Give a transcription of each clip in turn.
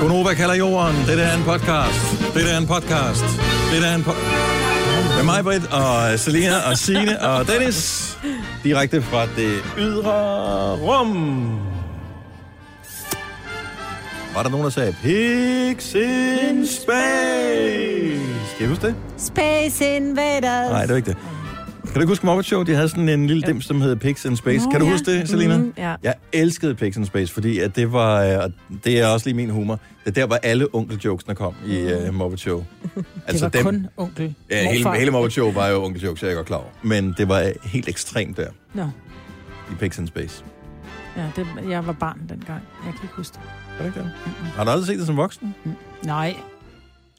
Gonova kalder jorden. Det er en podcast. Det er en podcast. Det er en podcast. Med mig, Britt, og Selena, og Signe, og Dennis. Direkte fra det ydre rum. Var der nogen, der sagde, Pigs in Space? Skal I huske det? Space Invaders. Nej, det var ikke det. Kan du ikke huske Muppet Show? De havde sådan en lille dims, som hed Pigs in Space. Nå, kan du ja. huske det, Selina? Mhm, ja. Jeg elskede Pigs in Space, fordi at det var, øh, og det er også lige min humor, det er der, hvor alle onkeljokesene kom i uh, Muppet Show. det var kun onkel. altså, Ja, hele, Morfar. hele Muppet Show var jo onkeljokes, jeg er godt klar over. Men det var øh, helt ekstremt der, Nå, i Pigs in Space. ja, det, jeg var barn dengang. Jeg kan ikke huske det. Mm. Er det ikke det? Har du aldrig set det som voksen? Nej,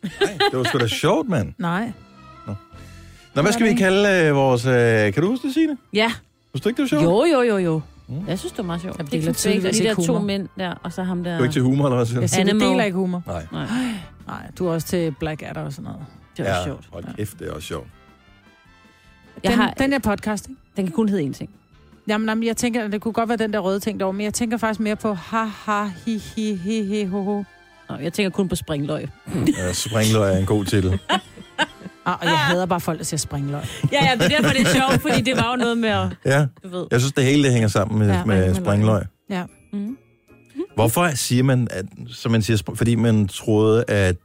Nej, det var sgu da sjovt, mand. nej. Nå, hvad skal vi kalde øh, vores... Øh, kan du huske det, Signe? Ja. Husk du ikke, det var sjovt? Jo, jo, jo, jo. Mm. Jeg synes, det var meget sjovt. Jamen, det det er er tydeligvis tydeligt, og de ikke der to humor. mænd der, og så ham der. Du er ikke til humor, eller hvad siger du? Jeg siger, vi Animal. deler ikke humor. Nej. Nej, Nej, du er også til Blackadder og sådan noget. det var ja. sjovt. Hold kæft, det er også sjovt. Jeg den, har, den der podcast, ikke? den kan kun hedde én ting. Jamen, jamen, jeg tænker, det kunne godt være den der røde ting derovre, men jeg tænker faktisk mere på ha ha hi hi hi hi ho ho. Nå, jeg tænker kun på springløg. Øh, Springløg er en god titel. Ah, og jeg hader bare folk, der siger springløg. Ja, ja, det er derfor, det er sjovt, fordi det var jo noget med at, Ja, du ved. jeg synes, det hele det hænger sammen med, Ja, ja, med springløg. springløg. Mm. Hvorfor siger man, at, som man siger, spr- fordi man troede, at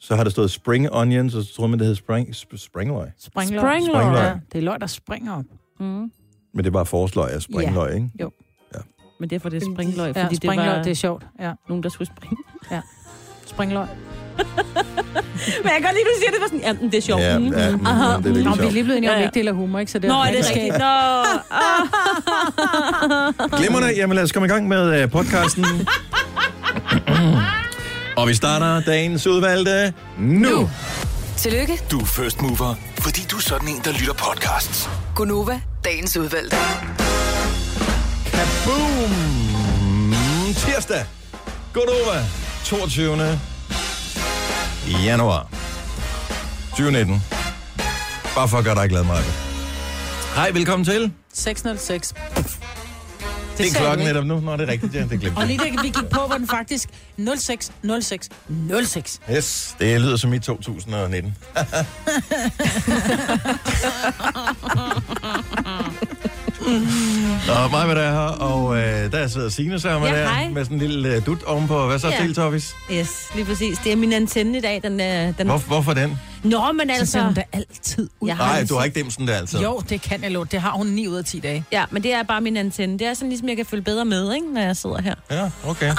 så har der stået spring onions, og så troede man, det hed spring, sp- springløg. Springløg. Springløg. Springløg. Ja, det er løg, der springer op. Mm. Men det er bare forsløg af springløg, ikke? Men derfor det er springløg, Ja, fordi det springløg, det, var det er sjovt. Ja, nogen, der skulle springe. springløg. Men jeg kan godt lide, du siger, det var sådan, ja, men det er sjovt. Ja, Mm. ja, mm, Aha. det er lidt Nå, vi er sjovt. lige blevet enige om, Ja, at vi ja. ikke deler humor, ikke? Så det Nå, er det fællesskab. rigtigt? Nå. Ah. Ah. Glimrende. Jamen lad os komme i gang med øh, podcasten. og vi starter dagens udvalgte nu. nu. Tillykke, Du er first mover, fordi du er sådan en, der lytter podcasts. Gunova, dagens udvalgte. Kaboom! Tirsdag. Godnova. 22. januar. 2019. Bare for at gøre dig glad, Maja. Hej, velkommen til. Det, 606. det sagde er klokken du netop nu. Nå, det er rigtigt, ja, det glemte Og jeg. lige da vi gik på, var den faktisk 06, 06, 06. Yes, det lyder som i 2019. Nå, mig med der her, og øh, der sidder Signe sammen Ja, med der, hej. med sådan en lille øh, dut ovenpå. Hvad så Ja. til, Toppis? Yes, lige præcis. Det er min antenne i dag. Den, øh, den... Hvor, hvorfor den? Nå, men Så sender hun altså... da altid ud. Jeg har Nej, en- du har ikke dem sådan der altid. Jo, det kan jeg love. Det har hun 9 ud af 10 dage. Ja, men det er bare min antenne. Det er sådan ligesom, jeg kan følge bedre med, ikke, når jeg sidder her. Ja, okay.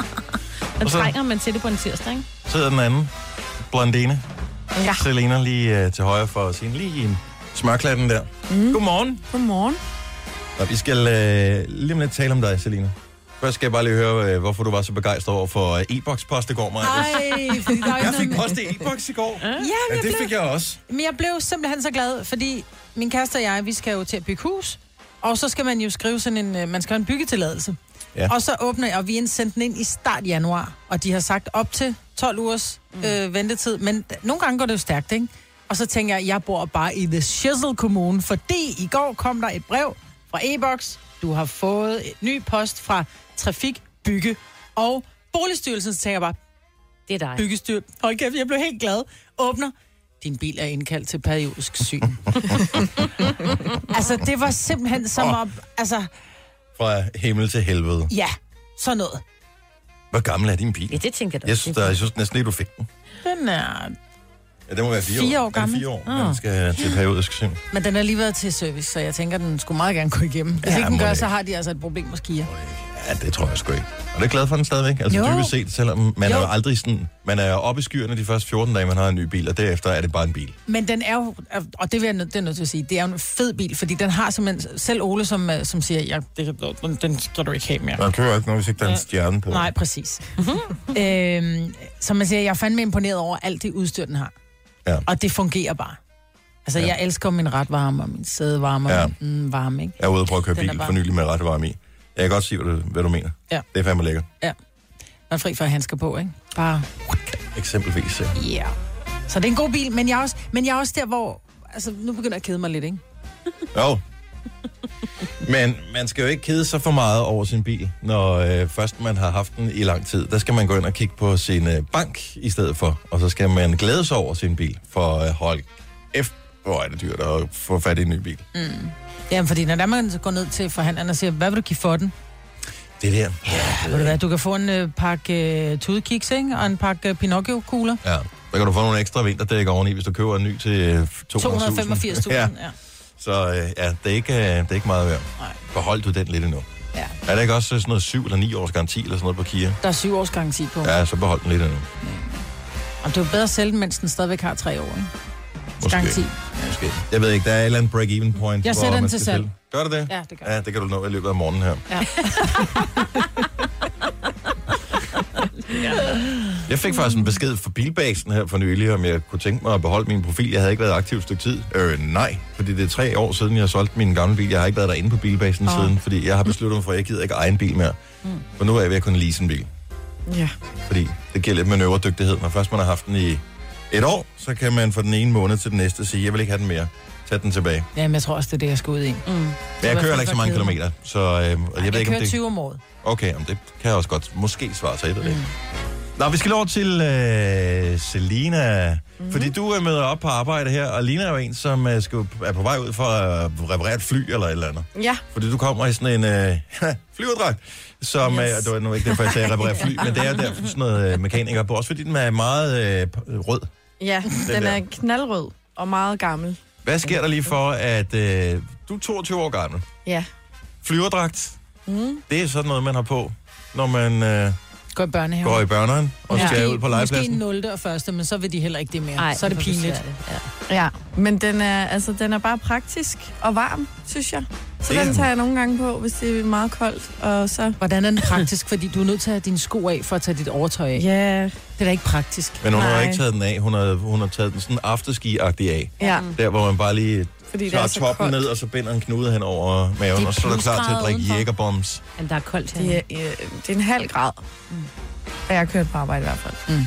Men Og så- trænger man til det på en tirsdag, ikke? Sidder den anden. Blondine. Ja. Selena lige øh, til højre for sin lige i en smørklatten der. Mm. Godmorgen. Godmorgen. Og vi skal øh, lige om lidt tale om dig, Selena. Først skal jeg bare lige høre, øh, hvorfor du var så begejstret over for øh, e-boks-post i går, Maja. Ej, fordi der er Jeg ikke fik noget... post i e-boks i går. Ja, Ja, men jeg, det blev, fik jeg også. men jeg blev simpelthen så glad, fordi min kæreste og jeg, vi skal jo til at bygge hus. Og så skal man jo skrive sådan en, øh, man skal have en byggetilladelse. Ja. Og så åbner jeg, og vi indsendte den ind i start januar. Og de har sagt op til 12 ugers Mm. øh, ventetid. Men d- nogle gange går det jo stærkt, ikke? Og så tænker jeg, jeg bor bare i The Shizzle Kommune, fordi i går kom der et brev fra e-boks. Du har fået et ny post fra Trafik, Bygge og Boligstyrelsen. Så tænker jeg bare, Det er dig. byggestyr. Hold kæft, jeg blev helt glad. Åbner. Din bil er indkaldt til periodisk syn. altså, det var simpelthen som Åh. om... Altså, Fra himmel til helvede. ja, sådan noget. Hvor gammel er din bil? Ja, det tænker jeg da Jeg også. synes, der, jeg synes næsten ikke, du fik den. Den er... Ja, det må være fire, Fire år år Er det gammel? Ah. Fire år, når den skal til periodisk syn. Men den har lige været til service, så jeg tænker, den skulle meget gerne gå igennem. Hvis Ja, ja, ikke den må gør, det så ikke. har de altså et problem med skier. Ja, det tror jeg sgu ikke. Er du glad for den stadigvæk? Altså Jo. jo. dybest set, selvom man jo. er Jo. jo aldrig sådan... Man er jo oppe i skyerne de første 14 dage, man har en ny bil, og derefter er det bare en bil. Men den er jo, og det vil jeg nødt, det er nødt til at sige, det er jo en fed bil, fordi den har simpelthen, selv Ole, som, øh, som siger, ja, det, den, den skal du ikke have mere. Man kører ikke noget, hvis ikke der er en stjerne på. Nej, præcis. øhm, som man siger, jeg er fandme imponeret over alt det udstyr, den har. Ja. Og det fungerer bare. Altså, ja. jeg elsker min retvarme og min sædevarme og Ja. ja. min mm, varme, ikke? Jeg er ude og prøve at køre Den er bil bare- for nylig med ret varme i. Jeg kan godt se, hvad du, hvad du mener. Ja. Det er fandme lækkert. Man er fri for handsker på, ikke? Bare, Eksempelvis. Ja. ja. Yeah. Så det er en god bil, men jeg, er også, men jeg er også der, hvor... Altså, nu begynder jeg at kede mig lidt, ikke? Jo. Men man skal jo ikke kede sig for meget over sin bil, når øh, først man har haft den i lang tid. Der skal man gå ind og kigge på sin øh, bank i stedet for, og så skal man glæde sig over sin bil. For øh, hold F, hvor er det dyrt at få fat i en ny bil. Mm. Jamen, fordi når der man så går ned til forhandleren og siger, hvad vil du give for den? Det der. Ved du hvad, du kan få en øh, pakke øh, tudekiks, ikke? Og en pakke øh, Pinocchio-kugler. Ja. Så kan du få nogle ekstra vinterdæk oveni, hvis du køber en ny til øh, 200.000. 285.000, ja. ja. ja. Så øh, ja, det er, ikke, øh, det er ikke meget værd. Nej. Behold du den lidt endnu. Ja. Er der ikke også øh, sådan noget 7 eller 9 års garanti eller sådan noget på Kia? Der er syv års garanti på. Ja. Ja, så behold den lidt endnu. Og det er jo bedre at sælge den, mens den stadigvæk har tre år, ikke? Måske. Garanti. Måske. Jeg ved ikke, der er et eller andet break-even point. Jeg hvor sætter den man til skal salg. sælge. Gør du det? Ja, det gør Ja, det kan du nå i løbet af morgenen her. Ja. Jeg fik faktisk en besked fra Bilbasen her for nylig, om jeg kunne tænke mig at beholde min profil. Jeg havde ikke været aktiv et stykke tid. Øh, nej, fordi det er tre år siden, jeg solgte min gamle bil. Jeg har ikke været derinde på Bilbasen oh. siden, fordi jeg har besluttet mig for, at jeg gider ikke eje en bil mere. Mm. For nu er jeg ved at kunne lease en bil. Ja. Fordi det giver lidt manøvredygtighed. Når først man har haft den i et år, så kan man fra den ene måned til den næste sige, jeg vil ikke have den mere. Tag den tilbage. Jamen, jeg tror også, det er det, jeg skal ud i. Mm. Men jeg hvert kører fald ikke så mange for kedelig. kilometer, så øh, og jeg, ved Jeg ikke, om kører det... 20 om året. Okay, om det kan jeg også godt måske svare sig, jeg ved det mm. Nå, vi skal over til øh, Selina, mm. fordi du øh, møder op på arbejde her, og Lina er jo en, som øh, skal, er på vej ud for at reparere et fly eller et eller andet. Ja. Fordi du kommer i sådan en øh, flyverdragt, som, yes. øh, det var nu ikke derfor, jeg sagde reparere fly, men det er jo derfor sådan noget øh, mekaniker på, også fordi den er meget øh, p- rød. Ja, den, der. er knaldrød og meget gammel. Hvad sker der lige for, at øh, du er 22 år gammel? Ja. Flyverdragt, mm. det er sådan noget, man har på, når man øh, Går i børnehave. går i børneren og ja. skal ud på legepladsen. Måske 0. og første, men så vil de heller ikke det mere. Ej, Ej, så er det hvor pinligt. besværligt. Ja. Ja, men den er, altså, den er bare praktisk og varm, synes jeg. Så Det er den den. tager jeg nogle gange på, hvis det er meget koldt. Og så... Hvordan er den praktisk? Fordi du er nødt til at have dine sko af for at tage dit overtøj af. Ja, Det er da ikke praktisk. Men hun Nej. har Nej. ikke taget den af. Hun har, hun har taget den sådan afterski-agtig af. ja Der, hvor man bare lige fordi det tager er så toppen koldt. ned, og så binder en knude hen over maven, Det er og så er du klar til at plusgrader drikke udenfor. jægerbombs. Men der er koldt her. Det er, øh, det er en halv grad. Mm. Og jeg har kørt på arbejde i hvert fald.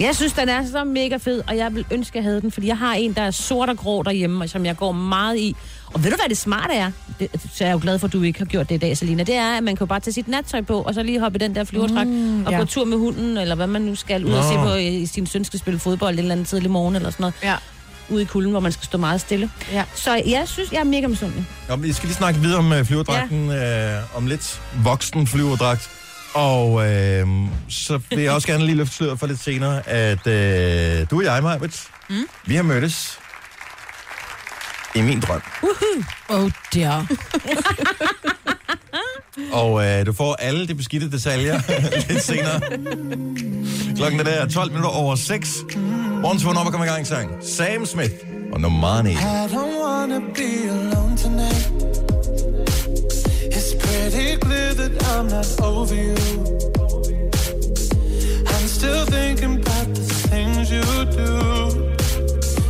Jeg synes, den er så mega fed, og jeg vil ønske, jeg havde den, fordi jeg har en, der er sort og grå derhjemme, og som jeg går meget i. Og ved du, hvad det smarte er? Det, så er jeg jo glad for, at du ikke har gjort det i dag, Selina. Det er, at man kan jo bare tage sit nattøj på, og så lige hoppe i den der flyverdragt, mm, og ja. gå tur med hunden, eller hvad man nu skal, ud og Nå. se på, øh, sin søn skal spille fodbold en eller anden tidlig morgen, eller sådan noget, Ja. ude i kulden, hvor man skal stå meget stille. Ja. Så jeg synes, jeg er mega misundelig. Nå, men vi skal lige snakke videre om øh, flyverdragten øh, om lidt. Voksen flyverdragt. Og øh, så vil jeg også gerne lige løfte sløret for lidt senere, at øh, du og jeg, Majbrit, mm. vi har mødtes i min drøm. Oh dear. Og øh, du får alle de beskidte detaljer lidt senere. Klokken er der 12 minutter over 6. Morgens vågen op og kommer i gang sang. Sam Smith og Normani. I don't wanna be alone tonight. It's pretty clear that I'm not over you. I'm still thinking about the things you do.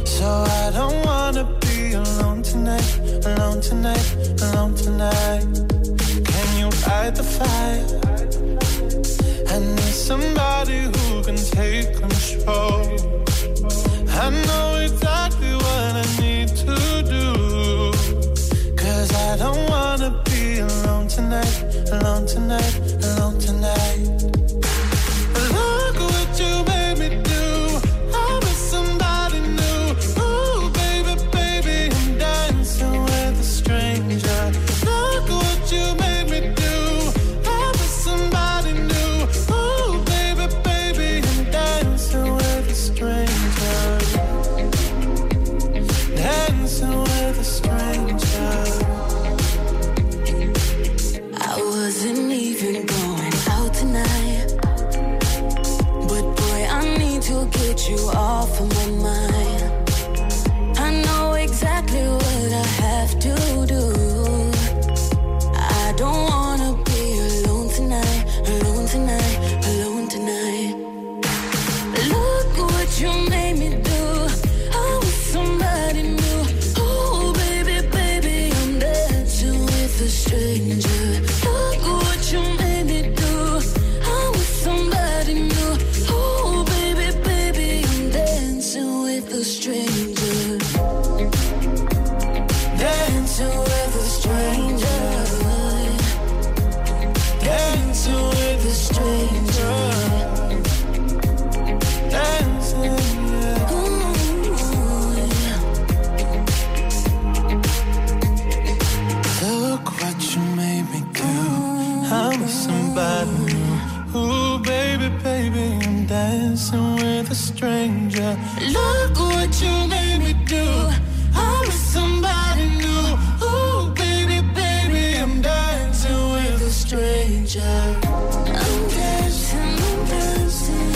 So I don't wanna be alone tonight, alone tonight, alone tonight. Can you fight the fight? I need somebody who can take control. I know exactly what I need to do. Cause I don't wanna be alone tonight, alone tonight, alone tonight. Look what you made me do. I'm with somebody new. Ooh, baby, baby, I'm dancing with a stranger. Look what you made me do. I'm with somebody new. Ooh, baby, baby, I'm dancing with a stranger. Dancing with a stranger. I wasn't even going out tonight. But boy, I need to get you off of my mind. I know exactly what I have to do. I don't wanna be alone tonight, alone tonight, alone tonight. Look what you made me do. I was somebody new. Oh, baby, baby, I'm dancing with a stranger. Look what you made me do. I was somebody new. Oh, baby, baby, I'm dancing with a stranger. Dancing with a stranger. dancing with a stranger. Look what you made me do. I'm with somebody new. Ooh, baby, baby, I'm dancing with a stranger. I'm dancing, I'm dancing.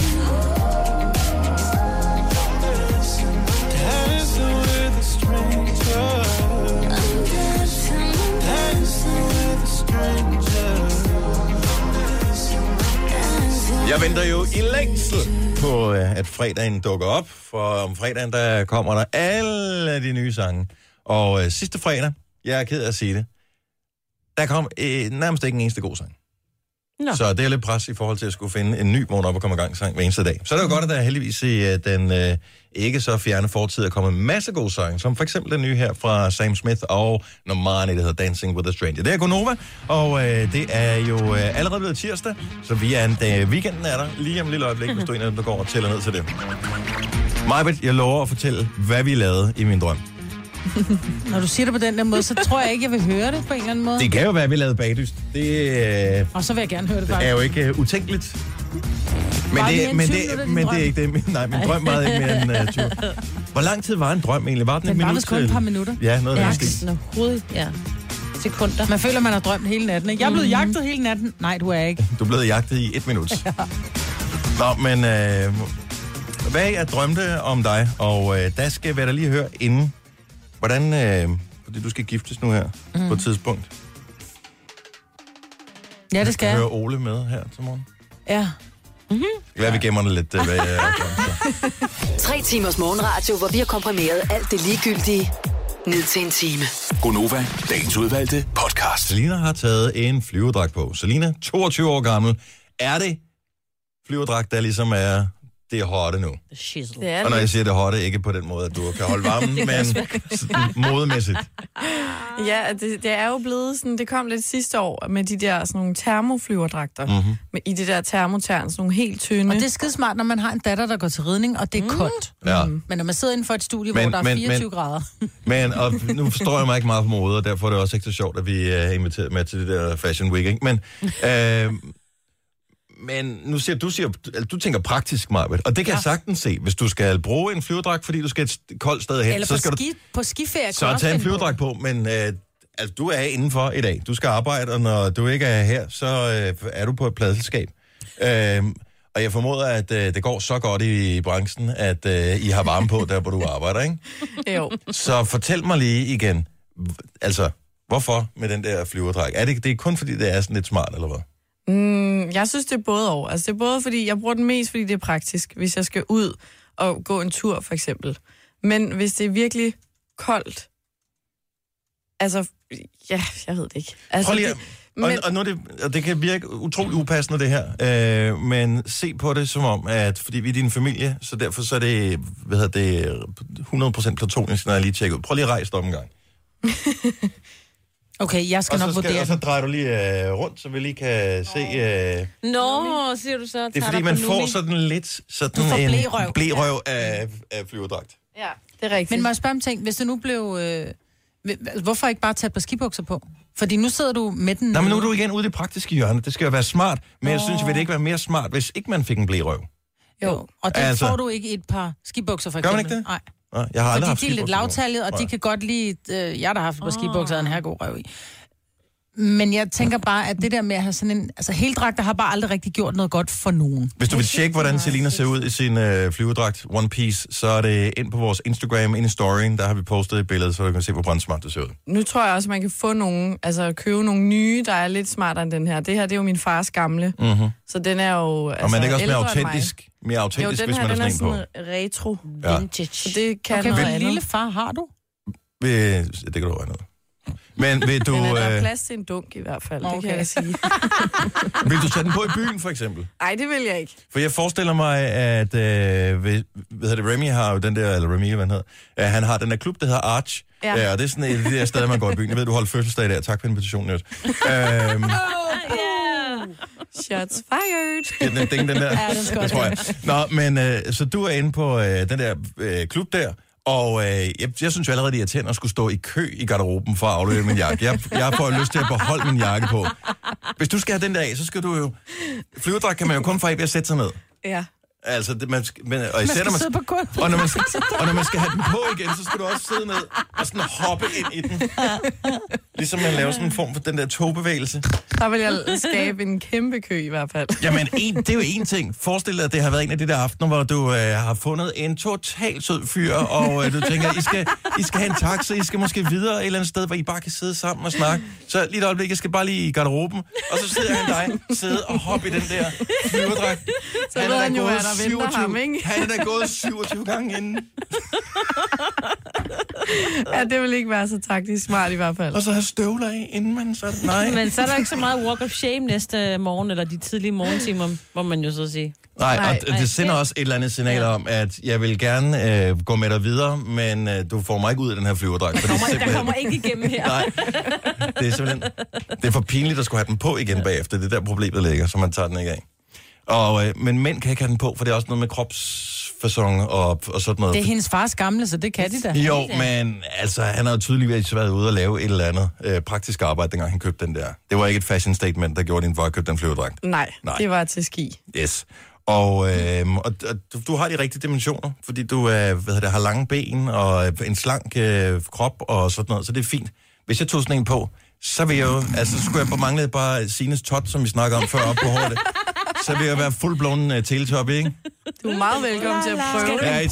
Dancing with a stranger. I'm dancing, I'm Dancing with a stranger. Jeg venter jo i længsel på, øh, at fredagen dukker op, for om fredagen der kommer der alle de nye sange. Og øh, sidste fredag, jeg er ked af at sige det, der kom øh, nærmest ikke en eneste god sang. Nå. Så det er lidt pres i forhold til at skulle finde en ny morgen op og komme i gang sang hver eneste dag. Så er det jo godt, at der heldigvis i øh, den øh, ikke så fjerne fortid er kommet en masse gode sange, som for eksempel den nye her fra Sam Smith og Normani, der hedder Dancing with a Stranger. Det er Gonova, og øh, det er jo øh, allerede blevet tirsdag, så vi er en dag, weekenden er der lige om et lille øjeblik, hvis du er en af dem, der går og tæller ned til det. Majbet, jeg lover at fortælle, hvad vi lavede i min drøm. Når du siger det på den der måde, så tror jeg ikke, jeg vil høre det på en eller anden måde. Det kan jo være, at vi lavede bagdyst. Det øh, Og så vil jeg gerne høre det er faktisk. jo ikke uh, utænkeligt. Men Var det det, en men, tyv, eller det, din men det er drøm? ikke det. Min, nej, min drøm var ikke mere end uh, 20. Hvor lang tid var en drøm egentlig? Var den, Den et var minut? vist kun et til- par minutter. Ja, noget af den stil. Sådan overhovedet, ja. Sekunder. Man føler, man har drømt hele natten, ikke? Jeg er blevet jagtet hele natten. Nej, du er ikke. Du blev jagtet i et minut. Nå, men øh, hvad jeg drømte om dig, og øh, der skal jeg da lige høre inden, hvordan, øh, fordi du skal giftes nu her mm. på et tidspunkt. Ja, det skal jeg. Hører Ole med her til morgen. Ja. Det kan være, vi gemmer det lidt, øh, hvad jeg drømte. Tre timers morgenradio, hvor vi har komprimeret alt det ligegyldige ned til en time. Gonova, dagens udvalgte podcast. Selina har taget en flyverdragt på. Selina, 22 år gammel. Er det flyverdragt, der ligesom er det hotte nu? Shizzle. Det er Og når lidt- jeg siger det hotte, ikke på den måde, at du kan holde varmen, men sådan modemæssigt. Ja, det, det er jo blevet sådan, det kom lidt sidste år med de der sådan nogle termoflyverdragter. Mhm. Mm-hmm. Med, I det der termotern, sådan nogle helt tynde. Og det er skidesmart, når man har en datter, der går til ridning, og det er mm. koldt. Ja. Men når man sidder inden for et studie, Men- hvor der er men- 24 men- grader. Men og nu forstår jeg mig ikke meget på mode, og derfor er det også ikke så sjovt, at vi øh, er inviteret med til det der Fashion Week. Ikke? Men, øh, men nu siger du, siger, altså, du tænker praktisk, Marvitt, og det kan ja. jeg sagtens se. Hvis du skal bruge en flyverdragt, fordi du skal et st- koldt sted hen, Eller så på, skal du ski, på skiferie. kan man Så også tag en finde på. flyverdragt på, men øh, altså, du er indenfor i dag. Du skal arbejde, og når du ikke er her, så øh, er du på et pladselskab. Øh, og jeg formoder, at øh, det går så godt i branchen, at øh, I har varme på, der hvor du arbejder, ikke? Jo. Så fortæl mig lige igen, hv- altså, hvorfor med den der flyverdragt? Er det, det er kun fordi, det er sådan lidt smart, eller hvad? Mm, jeg synes, det er både og. Altså, det er både fordi, jeg bruger den mest, fordi det er praktisk, hvis jeg skal ud og gå en tur, for eksempel. Men hvis det er virkelig koldt, altså, ja, jeg ved det ikke. Altså, Prøv lige at, det, og, men, og, nu er det, og det kan virke utrolig upassende, det her. Øh, men se på det som om, at fordi vi er din familie, så derfor så er det, hvad hedder det 100% platonisk, når jeg lige tjekker ud. Prøv lige at rejse dig op en gang. Okay, jeg skal Og så, nok skal, vurdere og så den. drejer du lige øh, rundt, så vi lige kan se... Øh, Nå, siger du så. det er fordi, man får sådan lidt sådan Du får en blerøv. blerøv af, af flyverdragt. ja, det er rigtigt. Men må jeg spørge om ting? Hvis det nu blev... Øh, hv- altså, hvorfor ikke bare tage et par skibukser på? Fordi nu sidder du med den... Nå, men nu er du igen ude i det praktiske hjørne. Det skal jo være smart, men jeg synes, vil det ikke være mere smart, hvis ikke man fik en blerøv. Jo, og den Altså- altså... får du ikke i et par skibukser, for Gør eksempel. man ikke det? Nej. Nå, Jeg har aldrig haft Fordi de er lidt skibukser på. lavtallet, og Nej. de kan godt lide... Øh, jeg der har haft på skibukser, en her god røv i. Men jeg tænker bare, at det der med at have sådan en... Altså, heldragter har bare aldrig rigtig gjort noget godt for nogen. Hvis du vil tjekke, hvordan Selina ser ud i sin øh, flyverdragt One Piece, så er det ind på vores Instagram, ind i storyen, der har vi postet et billede, så du kan se, hvor brandsmart det ser ud. Nu tror jeg også, man kan få nogle, altså købe nogle nye, der er lidt smartere end den her. Det her, det er jo min fars gamle. Mm-hmm. Så den er jo Mhm. altså, Og man er ikke også mere ældre end mig. autentisk, mere Jo, autentisk den hvis her, man er den er sådan en på. sådan retro. Ja. Så det kan Okay, noget hvor andet. lille far har du? Ved, det kan du regne ud. Men vil du, Men er der er øh, plads til en dunk i hvert fald, okay. det Okay. kan jeg sige. vil du tage den på i byen, for eksempel? Nej, det vil jeg ikke. For jeg forestiller mig, at øh, ved, hvad hedder det, Remy har jo den der, eller Remy, hvad han hedder, øh, han har den der klub, der hedder Arch, ja. Ja. øh, og det er sådan et af de der steder, man går i byen. Jeg ved, du holder fødselsdag der. Tak for invitationen, Jørgen. Øh, Shots fired. den, den, den, den der. Ja, den skal det også tror jeg. Nå, men øh, så du er inde på øh, den der øh, klub der, og øh, jeg, jeg synes jo allerede, det er irriterende at skulle stå i kø i garderoben for at aflevere min jakke. Jeg, jeg får lyst til at beholde min jakke på. Hvis du skal have den der af, så skal du jo... Flyverdragt kan man jo kun få af ved at sætte sig ned. Ja. Altså, det, man, skal- men, og især, skal når man, sidde på gulvet. og når, man skal, og når man skal have den på igen, så skal du også sidde ned og sådan hoppe ind i den. Ligesom man laver sådan en form for den der togbevægelse. Der vil jeg skabe en kæmpe kø i hvert fald. Jamen, en, det er jo en ting. Forestil dig, at det har været en af de der aftener, hvor du øh, har fundet en total sød fyr, og øh, du tænker, I skal, I skal have en taxa, I skal måske videre et eller andet sted, hvor I bare kan sidde sammen og snakke. Så lige et øjeblik, jeg skal bare lige i garderoben, og så sidder han dig, sidde og hoppe i den der flyverdragt. Så er ved da han jo, gået hvad der venter ham, ikke? Han er da gået 27 gange inden. Ja, det vil ikke være så taktisk smart i hvert fald. Og så har støvler af, inden man så... Nej, Men så er der ikke så meget walk of shame næste morgen, eller de tidlige morgentimer, må man jo så sige. nej, og Nej, d- det sender også et eller andet signal om, at jeg vil gerne øh, gå med dig videre, men øh, du får mig ikke ud af den her flyverdragt. fordi Der simpelthen- kommer ikke igennem her. Nej, det er simpelthen... Det er for pinligt at skulle have den på igen bagefter. Det er der problemet ligger, så man tager den ikke af. Og, øh, men mænd kan ikke have den på, for det er også noget med kropsfasong og, og sådan noget. Det er hendes fars gamle, så det kan de da. Jo, men altså, han har jo tydeligvis været ude og lave et eller andet øh, praktisk arbejde, dengang han købte den der. Det var ikke et fashion statement, der gjorde din for at købe den flyverdragt. Nej, Nej. det var til ski. Yes. Og, øh, og, og du, du har de rigtige dimensioner, fordi du øh, hvad hedder det, har lange ben og øh, en slank øh, krop og sådan noget, så det er fint. Hvis jeg tog sådan en på, så vil jeg jo, altså så skulle jeg bare mangle bare Sines tot, som vi snakkede om før op på håret. Så vil jeg være fuldblåen øh, teletop, ikke? Du er meget velkommen til at prøve det. Ja, i-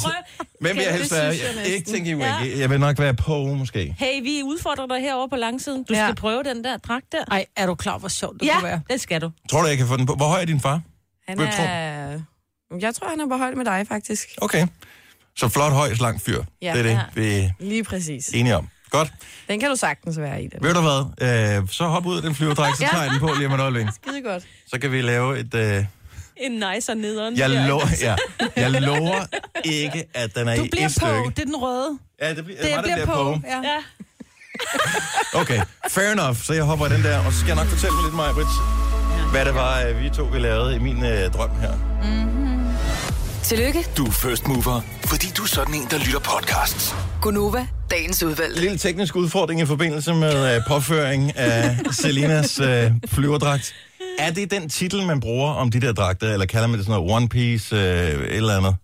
Hvem vil jeg det helst være? synes jeg Jeg, næsten. ikke tænke i Wiggy. Jeg vil nok være på, måske. Hey, vi udfordrer dig herovre på langsiden. Du Ja. ja. skal prøve den der dragt der. Ej, er du klar, hvor sjovt det Ja, kunne være? det skal du. Tror du, jeg kan få den på? Hvor høj er din far? Han Hvem tror er... Jeg tror, han er på højde med dig, faktisk. Okay. Så flot, høj, slank fyr. Ja. det er det, Ja. vi er Lige præcis. enige om. Godt. Den kan du sagtens være i, den. Ved du hvad? Øh, så hop ud af den flyverdragt, så tager jeg den på lige om et øjeblik. Skide godt. Så kan vi lave et... Øh, En nice og nederen. jeg, der. lover, ja, jeg lover ikke, at den er Du i bliver et på, stykke. det er den røde. Ja, det bliver, Det mig, der bliver på. Ja. Ja. Okay, fair enough. Så jeg hopper i den der, og så skal jeg nok fortælle lidt, Maja Brits, hvad det var, øh, vi to vi lavede i min øh, drøm her. Tillykke, Du er first mover, fordi du er sådan en, der lytter podcasts. Gunova, dagens En udvalgte. lille teknisk udfordring i forbindelse med øh, påføring af Selinas øh, flyverdragt. Er det den titel, man bruger om de der dragter, eller kalder man det sådan noget One Piece, øh, et eller andet?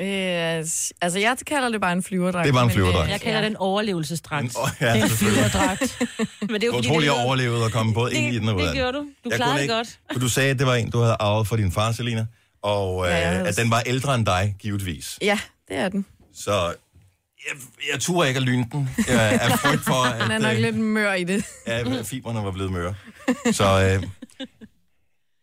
Øh, altså, jeg kalder det bare en flyverdragt. Det er bare en men, øh, flyverdragt. Jeg kalder den overlevelsesdragt. Oh, ja, selvfølgelig. Flyverdragt. Men det er Jeg jo fordi, tror, jeg lyder- overlevede og kom både ind i den og ud det, af den. det gjorde du. Du Jeg klarede kunne det ikke, godt. For du sagde, at det var en, du havde arvet fra din far, Selina, og øh, Ja, jeg havde- at den var ældre end dig, givetvis. Ja, det er den. Så jeg, jeg turde ikke at lyne den. Jeg er frygt for, Den er at nok øh, lidt mør i det. ja, fiberne var blevet møre. Så øh,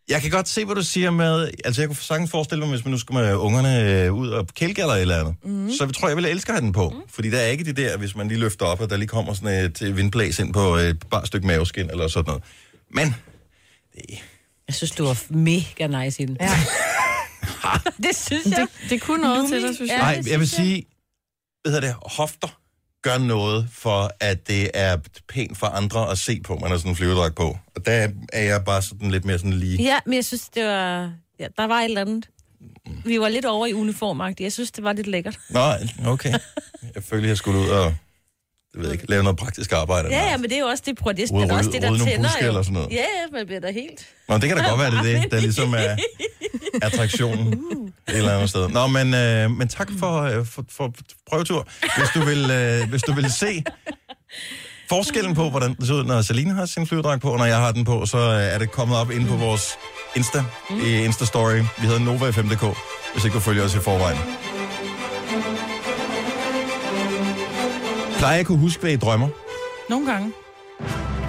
jeg kan godt se, hvad du siger med... Altså, jeg kunne sagtens forestille mig, hvis man nu skulle med ungerne øh, ud og kælke eller et eller andet. Mhm. Mm. Så tror jeg, jeg ville elske at have den på. Mm. Fordi der er ikke det der, hvis man lige løfter op, og der lige kommer sådan et øh, vindblæs ind på et bare stykke maveskin eller sådan noget. Men Jeg synes, du var mega nice i den. Ja. det synes jeg. Det, det kunne noget til dig, synes jeg. Ja, Nej, det jeg vil synes jeg. sige, hvad hedder det, hofter gør noget for, at det er pænt for andre at se på, man har sådan en flyverdragt på. Og der er jeg bare sådan lidt mere sådan lige... Ja, men jeg synes, det var... Ja, der var et eller andet. Vi var lidt over i uniformagtigt. Jeg synes, det var lidt lækkert. Nå, okay. Jeg følte, jeg skulle ud og jeg ved ikke, lave noget praktisk arbejde. Ja, ja, men det er jo også det, prøv, det, Ude det er og også rydde- det, der rydde nogle tænder buske jo. eller sådan noget. Ja, ja, man bliver da helt... Nå, det kan da godt være, det er det, der ligesom er attraktionen et eller andet sted. Nå, men, øh, men tak for, øh, for, for prøvetur. Hvis du, vil, øh, hvis du vil se forskellen på, hvordan det ser ud, når Celine har sin flyverdragt på, og når jeg har den på, så øh, er det kommet op inde på vores Insta, i Insta-story. Vi hedder Nova i 5.dk, hvis ikke du følger os i forvejen. Plejer jeg at kunne huske, hvad I drømmer? Nogle gange.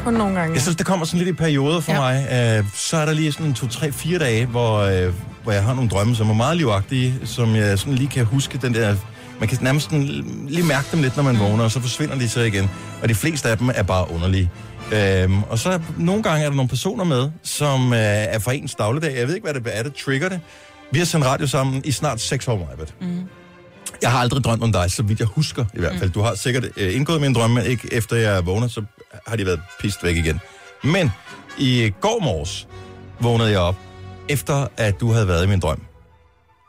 Kun nogle gange. Jeg synes, det kommer sådan lidt i perioder for ja. Ja. mig. Øh, så er der lige sådan to, tre, fire dage, hvor, øh, hvor jeg har nogle drømme, som er meget livagtige, som jeg sådan lige kan huske den der... Man kan nærmest sådan lige mærke dem lidt, når man vågner, og så forsvinder de så igen. Og de fleste af dem er bare underlige. Øhm, og så nogle gange er der nogle personer med, som øh, er fra ens dagligdag. Jeg ved ikke, hvad det er, der trigger det. Vi har sendt radio sammen i snart seks år, Majbet. Mm. Jeg har aldrig drømt om dig, så vidt jeg husker i hvert fald. Du har sikkert øh, indgået mine drømme, men ikke efter jeg vågner, så har de været pist væk igen. Men i går morges vågnede jeg op, efter at du havde været i min drøm.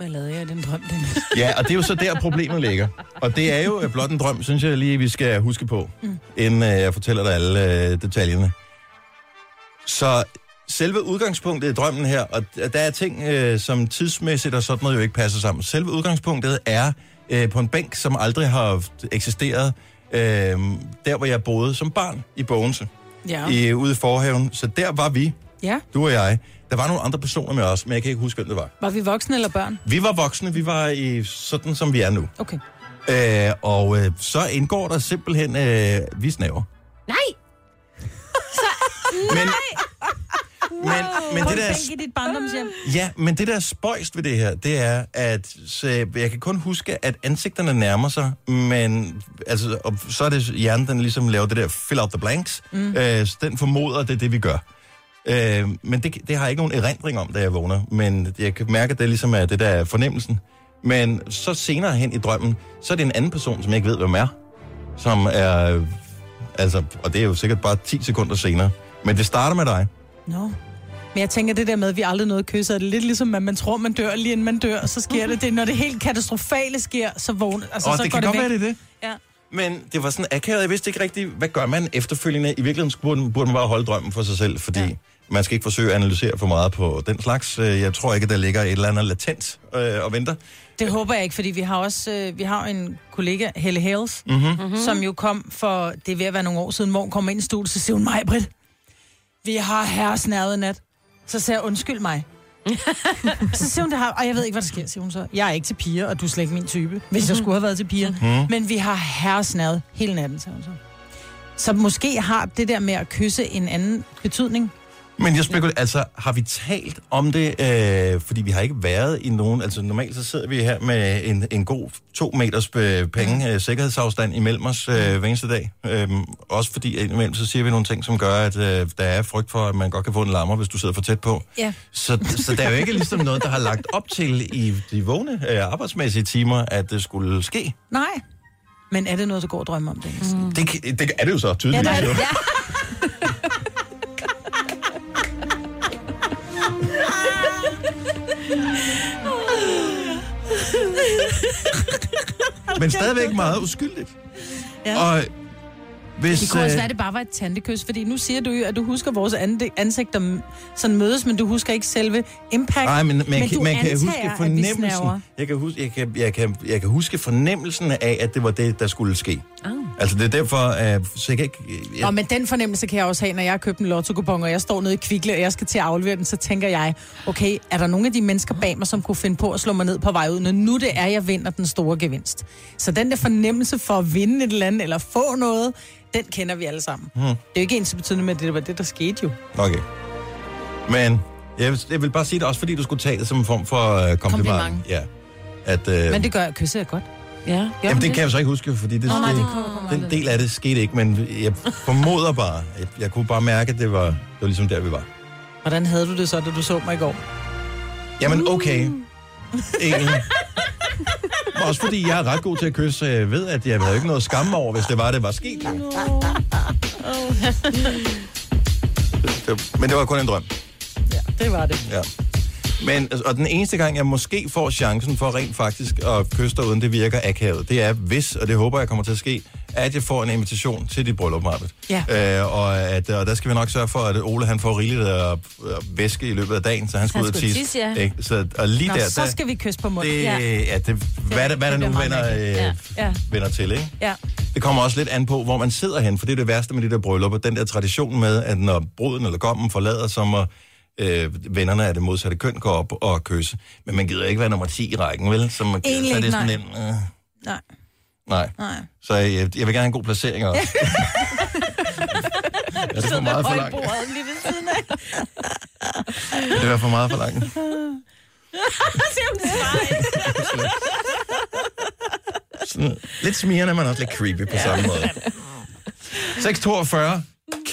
Hvad lavede jeg i den drøm, den? Ja, og det er jo så der, problemet ligger. Og det er jo øh, blot en drøm, synes jeg lige, vi skal huske på, mm. inden øh, jeg fortæller dig alle øh, detaljerne. Så selve udgangspunktet i drømmen her, og d- der er ting, øh, som tidsmæssigt og sådan noget jo ikke passer sammen. Selve udgangspunktet er øh, på en bænk, som aldrig har haft- eksisteret, øh, der hvor jeg boede som barn i Bogense, Ja. ja. i, ude i forhaven. Så der var vi, ja. du og jeg. Der var nogle andre personer med os, men jeg kan ikke huske, hvem det var. Var vi voksne eller børn? Vi var voksne, vi var i sådan, som vi er nu. Okay. Øh, og øh, så indgår der simpelthen, øh, vi snæver. Nej! Men, men, men det der, Tænk i dit barndomshjem. ja, men det der er spøjst ved det her, det er, at så, jeg kan kun huske, at ansigterne nærmer sig, men altså, og så er det hjernen, den ligesom laver det der fill out the blanks. Mm. Øh, så den formoder, det er det, vi gør. Øh, men det, det har jeg ikke nogen erindring om, da jeg vågner. Men jeg kan mærke, at det ligesom er det, der er fornemmelsen. Men så senere hen i drømmen, så er det en anden person, som jeg ikke ved, hvem er. Som er... øh, Altså, og det er jo sikkert bare 10 sekunder senere. Men det starter med dig. Nå. Men jeg tænker, det der med, at vi aldrig nåede kysset, er det lidt ligesom, at man tror, man dør, lige inden man dør, så sker det. det er, når det helt katastrofale sker, så vågner, altså, Og så Mhm. det går kan godt væk. være, det er det. Ja. Men det var sådan akavet, jeg vidste ikke rigtigt, hvad gør man efterfølgende? I virkeligheden skulle- burde, burde man bare holde drømmen for sig selv, fordi ja. man skal ikke forsøge at analysere for meget på den slags. Øh, Jeg tror ikke, der ligger et eller andet latent øh, og venter. Det håber jeg ikke, fordi vi har også øh, vi har jo en kollega, Helle Hales, Mhm. mm-hmm. som jo kom for, det er ved at være nogle år siden, hvor hun kom ind i studiet, så siger hun, mig, Britt, vi har herresnærvet i nat. Så siger jeg, undskyld mig. så siger hun det her, og jeg ved ikke, hvad der sker, siger hun så. Jeg er ikke til piger, og du er slet ikke min type, hvis jeg skulle have været til piger. Mhm. Men vi har herresnærvet hele natten, siger hun så. Så måske har det der med at kysse en anden betydning. Men jeg spekulerer, altså har vi talt om det, øh, fordi vi har ikke været i nogen, altså normalt så sidder vi her med en, en god to meters øh, penge, øh, sikkerhedsafstand imellem os øh, hver eneste dag. Øh, også fordi indimellem så siger vi nogle ting, som gør, at øh, der er frygt for, at man godt kan få en lammer, hvis du sidder for tæt på. Ja. Så, så der er jo ikke ligesom noget, der har lagt op til i de vågne øh, arbejdsmæssige timer, at det skulle ske. Nej. Men er det noget, du går og drømmer om, Dennis? Mm. Det, kan- det er det jo så tydeligvis. Ja, Ja. Men stadigvæk meget uskyldigt. Ja. Og hvis, Det kunne også øh, være, at det bare var et tantekys, fordi nu siger du jo, at du husker vores ande- ansigter m- sådan mødes, men du husker ikke selve impact. Nej, men, men, men du kan, man kan antager, huske at vi snæver. fornemmelsen. Jeg kan huske, jeg kan, jeg, kan, jeg kan huske fornemmelsen af, at det var det, der skulle ske. Ah. Altså, det er derfor, uh, så jeg kan ikke... Jeg, Nå, men den fornemmelse kan jeg også have, når jeg har købt en lotto og jeg står nede i Kvikle, og jeg skal til at aflevere den, så tænker jeg, okay, er der nogle af de mennesker bag mig, som kunne finde på at slå mig ned på vej ud, når nu det er, jeg vinder den store gevinst. Så den der fornemmelse for at vinde et eller andet, eller få noget, den kender vi alle sammen. Mm. Hmm. Det er jo ikke ens betydende med, at det var det, der skete jo. okay. Men jeg, vil- jeg vil bare sige det også, fordi du skulle tage det som en form for uh, kompliment. Kompliment. Ja. At, uh, Men det gør kysset er godt. ja. Gør Jamen, hun det kan jeg så ikke huske, fordi det, Nå, nej, det den del af det skete ikke, men jeg formoder bare, jeg, jeg kunne bare mærke, at det var, det var ligesom der, vi var. Hvordan havde du det så, da du så mig i går? Jamen, okay. Egentlig. Men Også fordi jeg er ret god til at kysse, så jeg ved, at jeg havde ikke noget skam over, hvis det var, det var sket. Oh. Det- det- Men det var kun en drøm. Det var det. Ja. Men, altså, og den eneste gang, jeg måske får chancen for rent faktisk at kysse dig, uden det virker akavet, det er hvis, og det håber jeg kommer til at ske, at jeg får en invitation til dit bryllup, Marbet. Ja. Øh, og, at, og der skal vi nok sørge for, at Ole han får rigeligt at, at væske i løbet af dagen, så han skal Han ud og skal ud tisse. og tisse, ja. Ikke? Så, og lige Nå, der, så der, skal vi kysse på munden. det, Ja. ja. ja det, hvad, det, hvad det, bliver der nu meget vender, øh, Ja. ja. Ja. vender til, ikke? Ja. Det kommer også lidt an på, hvor man sidder hen, for det er det værste med de der bryllupper. Den der tradition med, at når bruden eller gommen forlader, så må øh, vennerne af det modsatte køn gå op og kysse. Men man gider ikke være nummer 10 i rækken, vel? Så, man, Egentlig så er det ikke, sådan en... Øh, Nej. nej. Nej. Så jeg, jeg vil gerne have en god placering også. ja, det var meget for langt. bordet lige ved siden af. Det var for meget for langt. Se, om det svarer ikke. Sådan, lidt smirende, men også lidt creepy på samme måde. 6.42.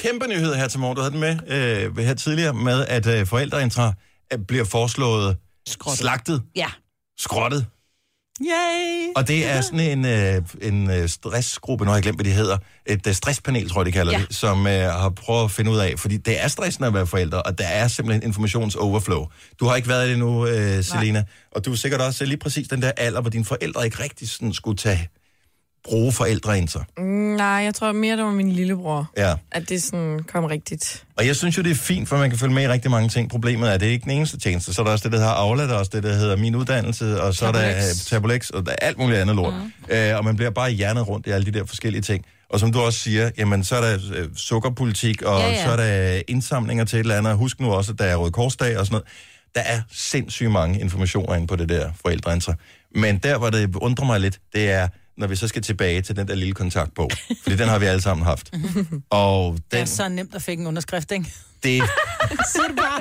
Kæmpe nyhed her til morgen. Du havde den med øh, her tidligere med, at øh, forældreintra øh, bliver foreslået Skrottet. slagtet, Ja. skrottet. Yay! Og det er sådan en, øh, en øh, stressgruppe, nu har jeg glemt, hvad de hedder, et øh, stresspanel, tror jeg, de kalder ja. Ja. det, som øh, har prøvet at finde ud af, fordi det er stressende at være forældre, og der er simpelthen informationsoverflow. Du har ikke været i det endnu, øh, Selina, og du er sikkert også øh, lige præcis den der alder, hvor dine forældre ikke rigtig sådan skulle tage bruge forældreinser. Mm, Nej, jeg tror mere, det var min lillebror, Ja. at det sådan kom rigtigt. Og jeg synes jo, det er fint, for man kan følge med i rigtig mange ting. Problemet er, at det er ikke den eneste tjeneste. Så er der også det, der hedder Aula, der er også det, der hedder Min Uddannelse, og så er der Tabulex. øh, Tabulex, og der er alt muligt andet lort. Mm. Øh, og man bliver bare hjernet rundt i alle de der forskellige ting. Og som du også siger, jamen, så er der øh, sukkerpolitik, og Ja, ja, ja. ja. så er der øh, indsamlinger til et eller andet. Husk nu også, at der er Røde Korsdag og sådan noget. Der er sindssygt mange informationer inde på det der forældreinser. Men der, hvor det undrer mig lidt, det er, når vi så skal tilbage til den der lille kontaktbog. Fordi den har vi alle sammen haft. Og den, Det er så nemt at fik en underskrift, ikke? det Siger du bare.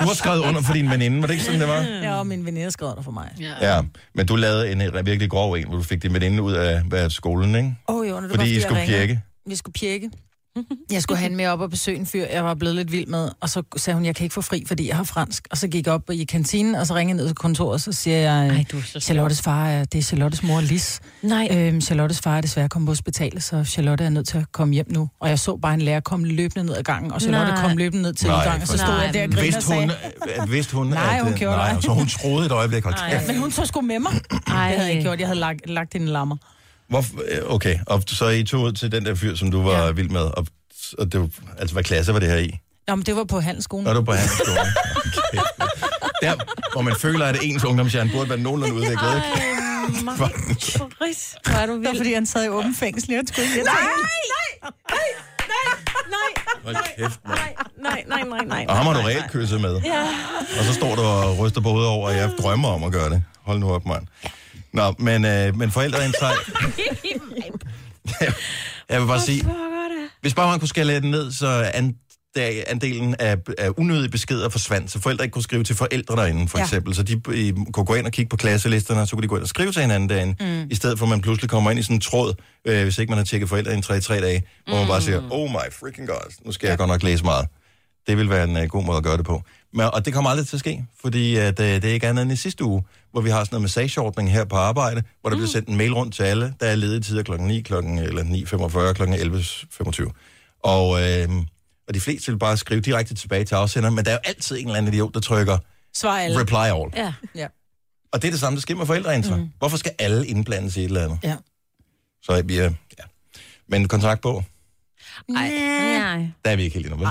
Du har skrevet under for din veninde, var det ikke sådan, det var? Ja, og min veninde skrev der for mig. Åh, ja. Ja, men du lavede en øh, virkelig grov en, hvor du fik din veninde ud af, af skolen, ikke? oh, jo, det var Fordi I jeg skulle ringede. pjekke. Vi skulle pjekke. Jeg skulle have hende med op og besøge en fyr, jeg var blevet lidt vild med. Og så sagde hun, jeg kan ikke få fri, fordi jeg har fransk. Og så gik jeg op i kantinen, og så ringede jeg ned til kontoret, og så siger jeg, Ej, Ej, du er så Charlottes far, er, det er Charlottes mor, Lis. Nej, Øhm, Charlottes far er desværre kommet på hospitalet, så Charlotte er nødt til at komme hjem nu. Og jeg så bare en lærer komme løbende ned ad gangen, og Charlotte Nej. kom løbende ned til Nej, udgangen, og så stod for- jeg der og Nej, grinede og Vidste hun, sagde, øh, vidste hun, Nej, at... hun øh, gjorde det nej, ikke. så hun troede et øjeblik. Hold Nej. kæft. men hun så sgu med mig. Ej. Det havde jeg ikke gjort, jeg havde lagt, lagt hende i lammer. Hvorfor, øh, okay, og så I tog ud til den der fyr, som du var Ja. vild med, og, og det var, altså, hvad klasse var det her i? Nå, men det var på handelsskolen. Når du var på hans skole. Okay. Der, hvor man føler, at ens ungdomshjerne burde være nogenlunde udviklet, ikke? Chris, hvor er du Det var, vild. fordi han sad i åben fængsel, jeg skulle ikke. Nej, Hold kæft, mand. nej, nej, nej, nej. Og ham har du reelt kysset med. Ja. Og så står du og ryster på hovedet over, at jeg drømmer om at gøre det. Hold nu op, mand. Nå, men, øh, men forældre er en træ. jeg vil bare sige, hvis bare man kunne skale den ned, så and, da- andelen af, af unødige beskeder forsvandt, så forældre ikke kunne skrive til forældre derinde, for ja. Ja. eksempel. Så de øh, kunne gå ind og kigge på klasselisterne, og så kunne de gå ind og skrive til hinanden derinde, mm. i stedet for at man pludselig kommer ind i sådan en tråd, øh, hvis ikke man har tjekket forældre i 3-3 dage, hvor man bare siger, oh my freaking god, nu skal ja. jeg godt nok læse meget. Det vil være en uh, god måde at gøre det på. Men, og det kommer aldrig til at ske, fordi at, uh, det er ikke andet end i sidste uge, hvor vi har sådan noget massageordning her på arbejde, hvor der mm. bliver sendt en mail rundt til alle, der er ledige tider klokken 9, klokken eller 9.45, klokken 11.25. Og, øh, og de fleste vil bare skrive direkte tilbage til afsenderen, men der er jo altid en eller anden idiot, der trykker Svar alle. reply all. Ja. Ja. Og det er det samme, der sker med forældreintra. Mm. Hvorfor skal alle indblandes i et eller andet? Ja. Så jeg bliver... Ja. Men kontrakt på, Ej, nej. der er vi ikke helt endnu, vel?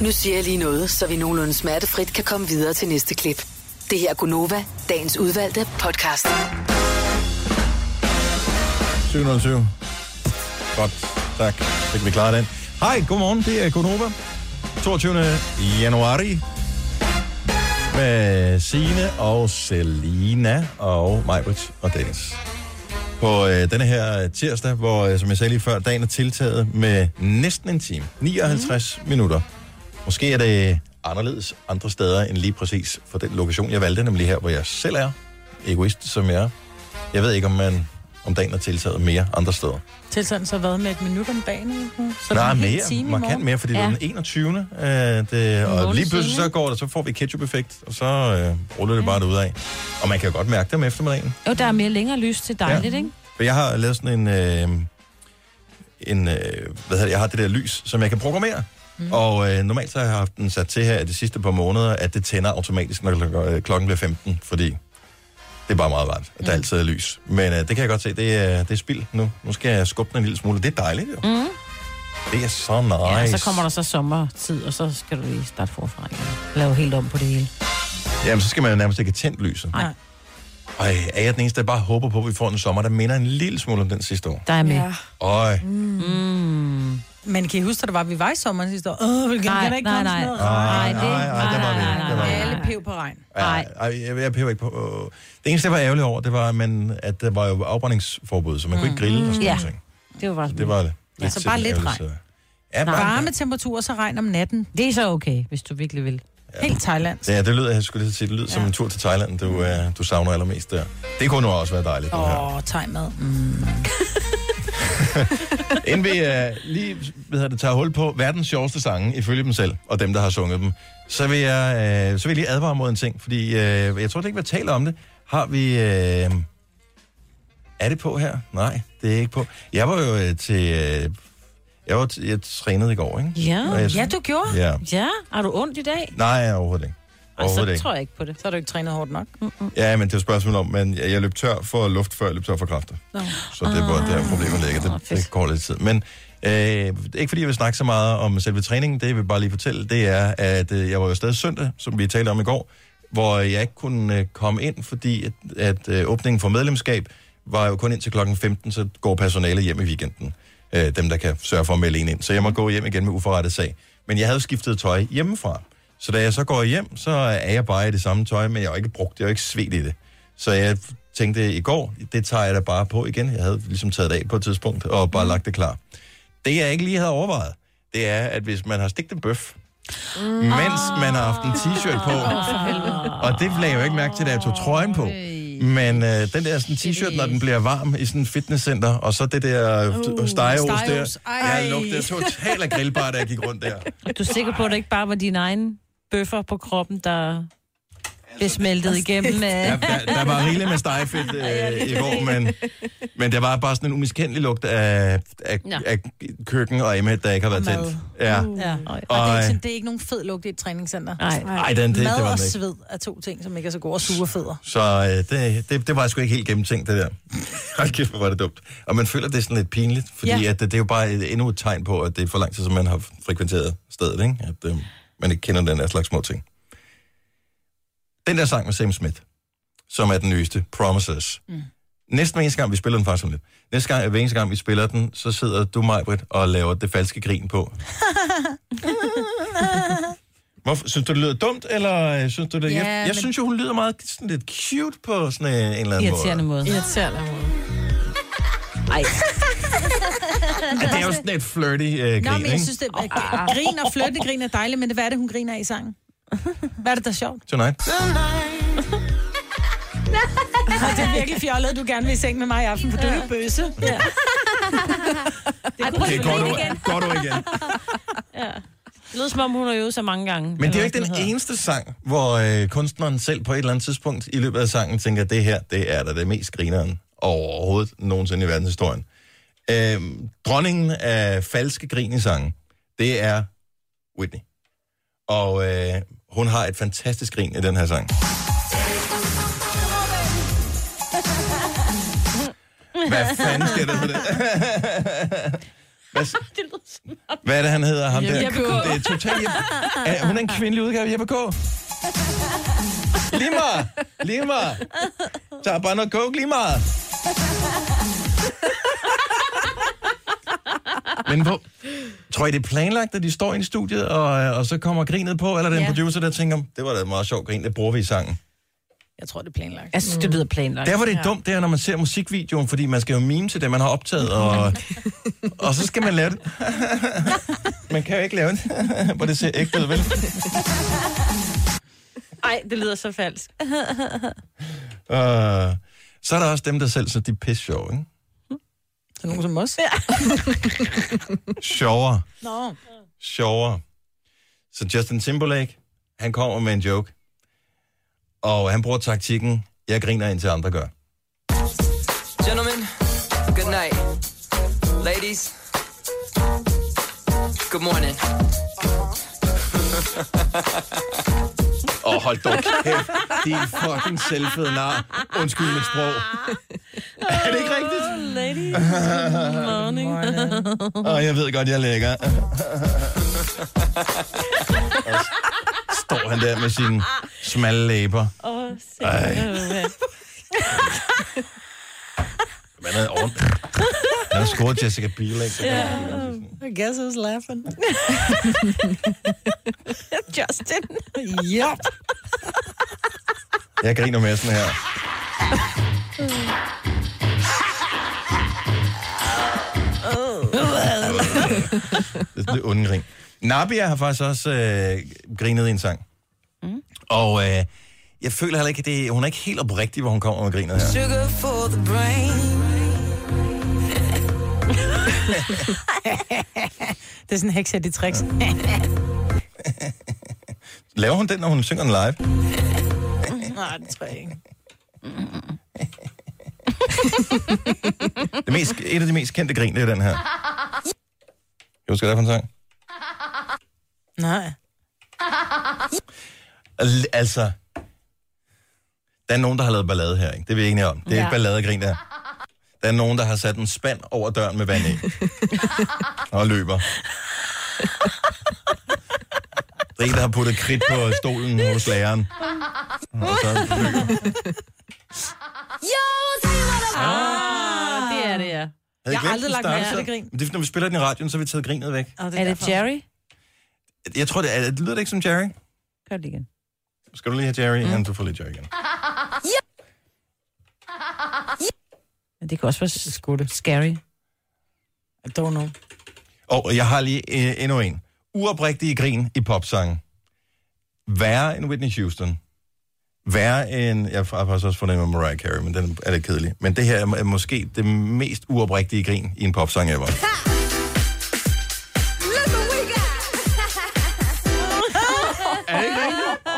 Nu siger jeg lige noget, så vi nogenlunde smertefrit kan komme videre til næste klip. Det her er Gunova, dagens udvalgte podcast. 707. Godt, tak. Så kan vi klare den. Hej, godmorgen. Det er Konoba. 22. januar. Med Signe og Selina og Majbrit og Dennis. På øh, denne her tirsdag, hvor, øh, som jeg sagde lige før, dagen er tiltaget med næsten en time. 59 mm. minutter. Måske er det anderledes andre steder end lige præcis for den lokation, jeg valgte, nemlig her, hvor jeg selv er. Egoist som jeg er. Jeg ved ikke, om man om dagen er tiltaget mere andre steder. Til sådan så været med et minut om dagen. eller sådan noget. Så det er Nej, en hel mere. time i Markant morgen. mere, fordi ja. det er Ja. den 21. Øh, det, og måned lige pludselig siden, så går det, så får vi ketchup-effekt, og så øh, ruller det bare ud af. Og man kan jo godt mærke det om eftermiddagen. Jo, der er mere længere lys til dejligt, ja. ikke? For jeg har lavet sådan en... Øh, en øh, hvad hedder det, jeg har det der lys, som jeg kan programmere. Mm. Og øh, normalt så har jeg haft den sat til her de sidste par måneder, at det tænder automatisk, når klok- øh, klokken bliver 15, fordi det er bare meget rart, at der altid er lys. Men øh, det kan jeg godt se, det er, det er spild nu. Nu skal jeg skubbe den en lille smule. Det er dejligt, jo. Mm. Det er så nice. Ja, og så kommer der så sommertid, og så skal du lige starte forfra igen. Lave helt om på det hele. Jamen, så skal man jo nærmest ikke have tændt lyset. Nej. Ej, er jeg den eneste, der bare håber på, at vi får en sommer, der minder en lille smule om den sidste år? Der er med. Ja. Ja. Øj, Mm. Mm. Men kan I huske, at der var, vi var i sommeren sidste år? Åh, vil Nej, gerne ikke nej, komme nej. sådan noget. Nej, det- nej, nej, der var vi. Der var vi. Alle pev på regn. ej, Nej. ej, jeg, jeg peber ikke på. øh, Det eneste, jeg var ærgerlig over, det var, men, at der var jo afbrændingsforbud, så man mm. kunne ikke grille og sådan Ja. noget. ting. Det var bare Altså, Det var det. Lidt så bare lidt ærgerligt, så- Ja, bare, Varme temperaturer, så regn om natten. Det er så okay, hvis du virkelig vil. Helt Thailand. ja, det lyder, jeg skulle lige til at sige, det lyder ja. som en tur til Thailand, du, øh, du savner allermest der. Det kunne nu også være dejligt, det her. Åh, oh, thai-mad. Mm. Inden vi uh, lige hvad hedder det, tager hul på verdens sjoveste sange, ifølge dem selv, og dem, der har sunget dem, så vil jeg, uh, så vil jeg lige advare mod en ting, fordi uh, jeg tror det ikke, vi taler om det. Har vi... Uh, er det på her? Nej, det er ikke på. Jeg var jo uh, til... Uh, jeg, var t- jeg trænede i går, ikke? Ja. Og jeg, Ja, du gjorde. ja. Ja, har du ondt i dag? Nej, overhovedet ikke. Og Overhovedet så ikke. tror jeg ikke på det. Så har du ikke trænet hårdt nok. Ja, men det er et spørgsmål om, men jeg, jeg løb tør for luft, før jeg løb tør for kræfter. Nå. Så det var der problemet ligger. Det, det går lidt tid. Men øh, ikke fordi jeg vil snakke så meget om selve træningen, det jeg vil bare lige fortælle, det er, at øh, jeg var jo stadig søndag, som vi talte om i går, hvor jeg ikke kunne øh, komme ind, fordi at, at øh, åbningen for medlemskab var jo kun ind til klokken 15, så går personalet hjem i weekenden. Øh, dem, der kan sørge for at melde en ind. Så jeg må gå hjem igen med uforrettet sag. Men jeg havde skiftet tøj hjemmefra. Så da jeg så går hjem, så er jeg bare i det samme tøj, men jeg har ikke brugt det, jeg har ikke svedt i det. Så jeg tænkte i går, det tager jeg da bare på igen. Jeg havde ligesom taget det af på et tidspunkt, og bare lagt det klar. Det, jeg ikke lige havde overvejet, det er, at hvis man har stegt en bøf, mens man har haft en t-shirt på, og det lagde jeg jo ikke mærke til, da jeg tog trøjen på, men øh, den der sådan t-shirt, når den bliver varm i sådan en fitnesscenter, og så det der uh, stegeost der, stegeost. Ej. jeg lugtede totalt af grillbar, da jeg gik rundt der. Du er sikker på, at det ikke bare var dine egne bøffer på kroppen, der blev smeltet igennem. øh? Ja, Ja. der, der var rigeligt med stegefedt øh, i går, men, men der var bare sådan en umiskendelig lugt af, af, Nå. af køkken og emmet, der ikke har været Og mad. Mm. tændt. Ja. Ja. Og det er, Og, øh, ikke, sådan- det er ikke nogen fed lugt i et træningscenter. Altså, Nej. ej, den, det, det Mad var og den ikke. sved er to ting, som ikke er så gode og sure fødder. Så øh, det, det, det var sgu ikke helt gennemtænkt, det der. Hold kæft, hvor var det dumt. Og man føler, det er sådan lidt pinligt, fordi ja. at, Ja. øh, det, det er jo bare et, endnu et tegn på, at det er for lang tid, som man har frekventeret stedet, ikke? at øh, man ikke kender den der slags små ting. Den der sang med Sam Smith, som er den nyeste, Promises. Mm. Næsten hver eneste gang, vi spiller den faktisk om lidt. Næste gang, hver eneste gang, vi spiller den, så sidder du, Majbrit, og laver det falske grin på. Hvorfor, synes du, det lyder dumt, eller øh, synes du det? Ja, Ja, jeg, jeg men- synes jo, hun lyder meget sådan lidt cute på sådan øh, en, en eller anden Irriterende måde. måde. Irriterende måde. Ej, Ja, det er jo sådan et flirty øh, Nå, grin, men ikke? jeg synes, det er, grin og flirte grin er dejligt, men det, hvad er det, hun griner af i sangen? Hvad er det, der er sjovt? Tonight. Og det er virkelig fjollet, du gerne vil i seng med mig i aften, for du er jo bøsse. Ja. Ej prøv Okay, at går grine du, igen. går du igen. Det lyder som om, hun har øvet sig mange gange. Men det er jo Eller ikke hvad den hedder. eneste sang, hvor øh, kunstneren selv på et eller andet tidspunkt i løbet af sangen tænker, at det her, det er da det mest grineren overhovedet nogensinde i verdenshistorien. Øh, dronningen af falske grin i sangen, det er Whitney. Og øh, hun har et fantastisk grin i den her sang. Hvad fanden sker der for det? Hvad, s- hvad er det, han hedder? Ham der? Jeppe K. Det er totalt... Er, hun er en kvindelig udgave af Jeppe K. Lige meget. Lige meget. Tag bare noget coke lige meget. Men hvor, tror I, det er planlagt, at de står ind i studiet, og, øh, og så kommer grinet på, eller er det en Ja. producer, der tænker, det var da et meget sjovt grin, det bruger vi i sangen. Jeg tror, det er planlagt. Jeg synes, Altså, det lyder planlagt. Der hvor det er dumt, det er, når man ser musikvideoen, fordi man skal jo mime til det, man har optaget, og, og så skal man lave det. man kan jo ikke lave det, hvor det ser ægte ud, vel? Ej, det lyder så falsk. Uh, så er der også dem, der selv synes, de er pisse sjove, ikke? Det er nogen som os. Ja. Sjovere. Nå. sjovere. Så Justin Timberlake, han kommer med en joke. Og han bruger taktikken, jeg griner indtil andre gør. Gentlemen, good night. Ladies, good morning. Åh, oh, hold dog kæft, din fucking selvfede nar. Undskyld mit sprog. Er det ikke rigtigt? Ladies, good morning. Åh, oh, jeg ved godt, jeg er lækker. Og s- Står han der med sine smalle læber. Åh, se. Ej. Man havde ordentligt. Han har scoret Jessica Biel, ikke? Yeah. I guess I was laughing. Justin. Ja. Jeg griner med sådan her. det er sådan lidt onde grin. Nabia har faktisk også øh, grinet i en sang. Mm. Og øh, jeg føler heller ikke, at det, hun er ikke helt oprigtig, hvor hun kommer med grinet her. Sugar for the brain. Det er sådan en heks af de tricks. Laver hun den, når hun synger den live? Nej, det tror jeg ikke. Det mest, et af de mest kendte grin, det er den her. Jeg husker, hvad det er for en sang. Nej. Al- Altså, der er nogen, der har lavet ballade her, ikke? Det er vi enige om. Det er ja. Ja. ikke balladegrin, der. Der er nogen, der har sat en spand over døren med vand i. og løber. Der er en, der har puttet kridt på stolen hos læreren. Og så er løber. Jo, se hvad der var. Ah, det er det, ja. Havde Jeg har glemt aldrig den lagt mærke størrelse? til det grin. Men Det er, fordi, når vi spiller den i radioen, så har vi taget grinet væk. Er det, er det Jerry? Jeg tror, det, er, det lyder det ikke som Jerry. Kør det igen. Skal du lige have Jerry? Mm. Jamen, du får lidt Jerry igen. Ja. Men det kan også være skudt. Scary. I don't know. Og jeg har lige øh, endnu en. Uoprigtige grin i popsange. Værre end Whitney Houston. Værre end... Jeg har faktisk også fundet en med Mariah Carey, men den er lidt kedelig. Men det her er må- er måske det mest uoprigtige grin i en popsang ever. Look what we got. Er det ikke rigtigt?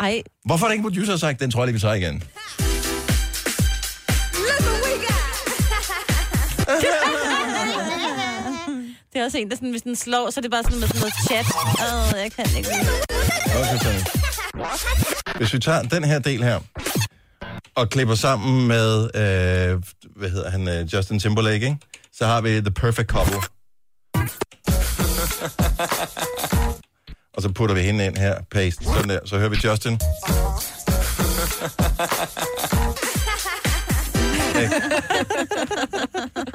Ej, Hvorfor har der ikke en producer sagt, den tror jeg lige, vi tager igen? Look what we got. det er også en, der sådan, hvis den slår, så er det bare sådan med sådan noget chat. Åh, oh, jeg kan ikke. Okay, Tony. Hvis vi tager den her del her, og klipper sammen med, øh, hvad hedder han, øh, Justin Timberlake, ikke? så har vi The Perfect Couple. og så putter vi hende ind her, paste, sådan der. Så hører vi Justin. Ikke?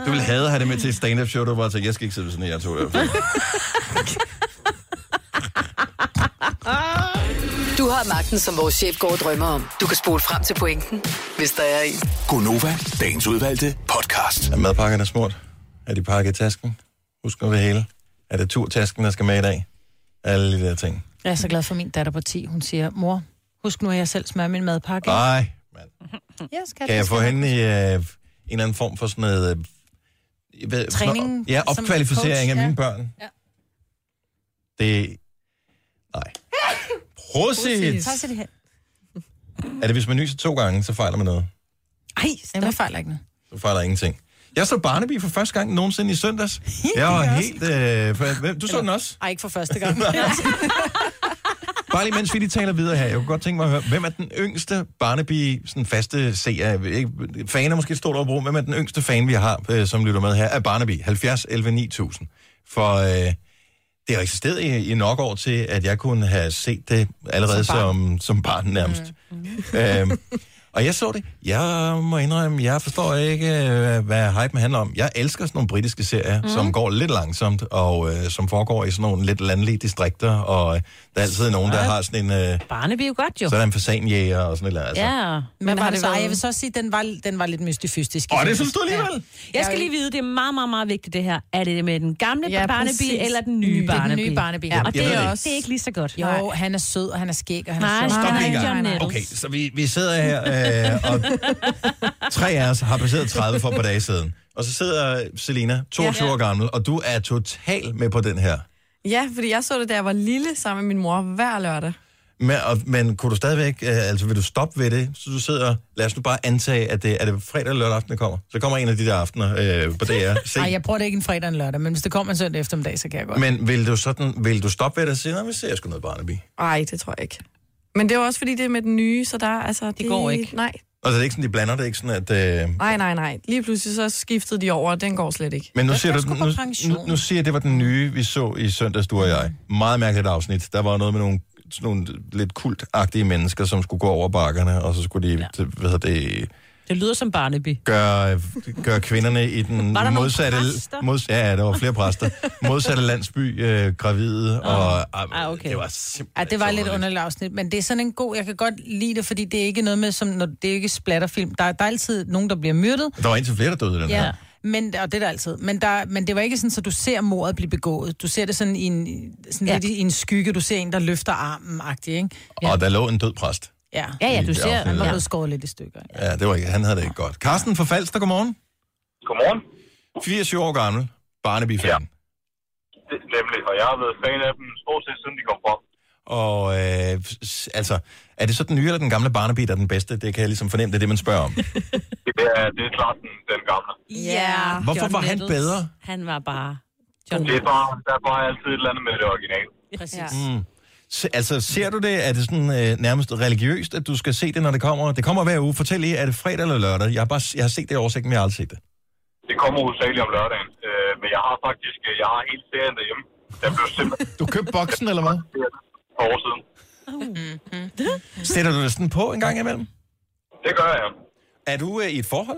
Du ville have at have det med til et stand-up show, du bare tænkte, jeg skal ikke sidde ved sådan en, jeg tog i hvert fald. Du har magten, som vores chef går og drømmer om. Du kan spole frem til pointen, hvis der er en. Gonova, dagens udvalgte podcast. Er madpakkerne smurt? Er de pakket i tasken? Husk nu ved hele. Er det turtasken, der skal med i dag? Alle de der ting. Jeg er så glad for min datter på 10. Hun siger, mor, husk nu, at jeg selv smører min madpakke. Nej. Ja, skat, Kan jeg det få skal hende i øh, en eller anden form for sådan noget... Øh, jeg ved, øh, sådan Træning noget- Ja, som opkvalificering coach, af mine ja. børn. Ja. Det... Nej. Prosit! Tak skal de have. Er det, hvis man nyser to gange, så fejler man noget? Ej, stop. jeg fejler ikke noget. Så fejler ingenting. Jeg så Barnaby for første gang nogensinde i søndags. Jeg var helt... Øh, for- hvem- du så den også? Ej, ikke for første gang. Bare lige mens vi lige taler videre her, jeg kunne godt tænke mig at høre, hvem er den yngste Barnaby, sådan faste seer, jeg ved ikke, fan er måske et stort overbrug, hvem er den yngste fan, vi har, øh, som lytter med her, af Barnaby, 70 11 9000. For øh, det har eksisteret i, i nok år til, at jeg kunne have set det allerede som Som barn, som, som barn nærmest. Mm. Øhm, og jeg så det. Jeg må indrømme, jeg forstår ikke, øh, hvad hypen handler om. Jeg elsker sådan nogle britiske serier, mm. som går lidt langsomt, og øh, som foregår i sådan nogle lidt landlige distrikter, og øh, der er altid nogen, der Ja. har sådan en... Øh, Barnaby er jo godt, jo. så er der en fasanjæger og sådan et eller andet. Altså. Ja, Men, men men har var det det så, været- ej, jeg vil så også sige, den var, den var lidt mystifystisk. Åh, det synes du alligevel? Jeg skal lige vide, det er meget, meget, meget vigtigt det her. Er det med den gamle ja, Ja, Barnaby præcis. eller den nye Det er den Barnaby? nye Barnaby. Ja, og Jeg det ved er, det også, det er ikke lige så godt. Jo, han er sød, og han er skæg, og han Nej, er sjov. Stop Nej, lige en John gang. Nettles. Okay, så vi, vi sidder her, øh, og tre af os har passeret 30 for et par dage siden. Og så sidder Selina, 22 Ja. år gammel, og du er total med på den her. Ja, fordi jeg så det, da jeg var lille sammen med min mor hver lørdag. Men, og, men kunne du stadigvæk, øh, altså vil du stoppe ved det, så du sidder, lad os nu bare antage, at det er det fredag eller lørdag aften, der kommer. Så kommer en af de der aftener øh, på DR. Se. Nej, jeg bruger det ikke en fredag og en lørdag, men hvis det kommer en søndag eftermiddag, så kan jeg godt. Men vil du, sådan, vil du stoppe ved det og sige, nej, vi ser sgu noget Barnaby? Nej, det tror jeg ikke. Men det er jo også, fordi det er med den nye, så der er- altså... Det, går ikke. Nej, Altså det er ikke sådan, de blander det, er ikke sådan, at... Øh, nej, nej, nej. Lige pludselig så skiftede de over, og den går slet ikke. Men nu siger, du, nu, nu, nu siger jeg, det var den nye, vi så i søndags, du og jeg. Meget mærkeligt afsnit. Der var noget med nogle, sådan nogle lidt kultagtige mennesker, som skulle gå over bakkerne, og så skulle de, ja. hvad hedder det, Det lyder som Barnaby. gøre, gøre kvinderne i den Var der nogle modsatte... præster? Mods, ja, ja, der var flere præster. Modsatte landsby, øh, gravide, og... Ah, okay. Det var simpelthen... Ja, det var et lidt underligt afsnit, men det er sådan en god, jeg kan godt lide det, fordi det er ikke noget med, som, når, det er ikke splatterfilm. Der, er- der er altid nogen, der bliver myrdet, Der var indtil flere, der døde i den ja. her. Men, og det er der altid. Men, der, men det var ikke sådan, så du ser mordet blive begået. Du ser det sådan i en, sådan Ja. ja. lidt i en skygge. Du ser en, der løfter armen agtig, ikke? Og der lå en død præst. Ja, Ja, ja, du I det ser- afsnit Han var der. blevet skåret lidt i stykker. ikke? Ja, det var ikke, han havde det ikke godt. Carsten fra Falster, godmorgen. Godmorgen. 84 år gammel, Barnaby-fan. Ja. Det, nemlig, og jeg har været fan af dem stort set siden de kom frem. Og øh, s- altså, er det så den nye eller den gamle Barnaby, der er den bedste? Det kan jeg ligesom fornemme, det er det, man spørger om. Det er, det er klart den, den gamle. Ja. Hvorfor var han bedre? Han var bare... Det er bare, der er bare altid et eller andet med det originale. Præcis. Ja. Mm. Se- Altså, ser du det? Er det sådan øh, nærmest religiøst, at du skal se det, når det kommer? Det kommer hver uge. Fortæl lige, er det fredag eller lørdag? Jeg har, bare, s- jeg har set det i oversigten, men jeg har aldrig set det. Det kommer hovedsageligt om lørdagen. Øh, men jeg har faktisk, øh, jeg har hele serien derhjemme. Jeg blev simpelthen Du købte boksen, eller hvad? for år siden. Sætter du det sådan på en gang imellem? Det gør jeg. Er du øh, i et forhold?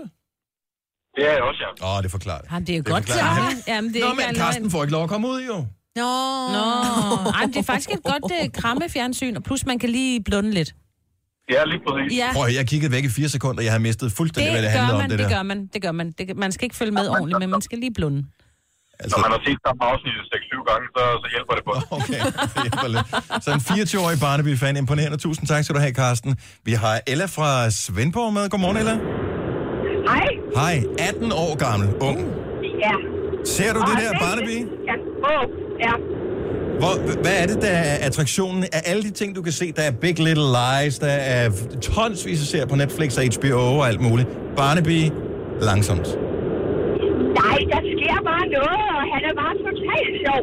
Det er jeg også, ja. Åh, oh, det forklarer det. Jamen, det er jo Det godt til forklarer ham. han. Jamen, det er Nå, ikke men engang Karsten løgn. får ikke lov at komme ud, jo. Nå. Nå. Ej, men det er faktisk et godt uh, krammefjernsyn, og plus man kan lige blunde lidt. Ja, lige præcis. Ja. Prøv at høre, jeg kiggede væk i fire sekunder, jeg har mistet fuldstændig, hvad Det det gør handlede om, man, det det der. gør man, det gør man. Det- Man skal ikke følge med ordentligt, men man skal lige blunde. Altså... Når man har set samme afsnit 6-7 gange, så, så hjælper det på. Okay, det hjælper lidt. Så en 24-årig Barnaby-fan, imponerende. Tusind tak skal du have, Karsten. Vi har Ella fra Svendborg med. Godmorgen, Ella. Hej. Hej, 18 år gammel, ung. Ja. Ser du det Og der, se- Barnaby? Ja. Åh, ja. Hvor, hvad er det, der er attraktionen af alle de ting, du kan se? Der er Big Little Lies, der er tonsvis af serier på Netflix og HBO og alt muligt. Barnaby, langsomt. Nej, der sker bare noget, og han er bare totalt sjov.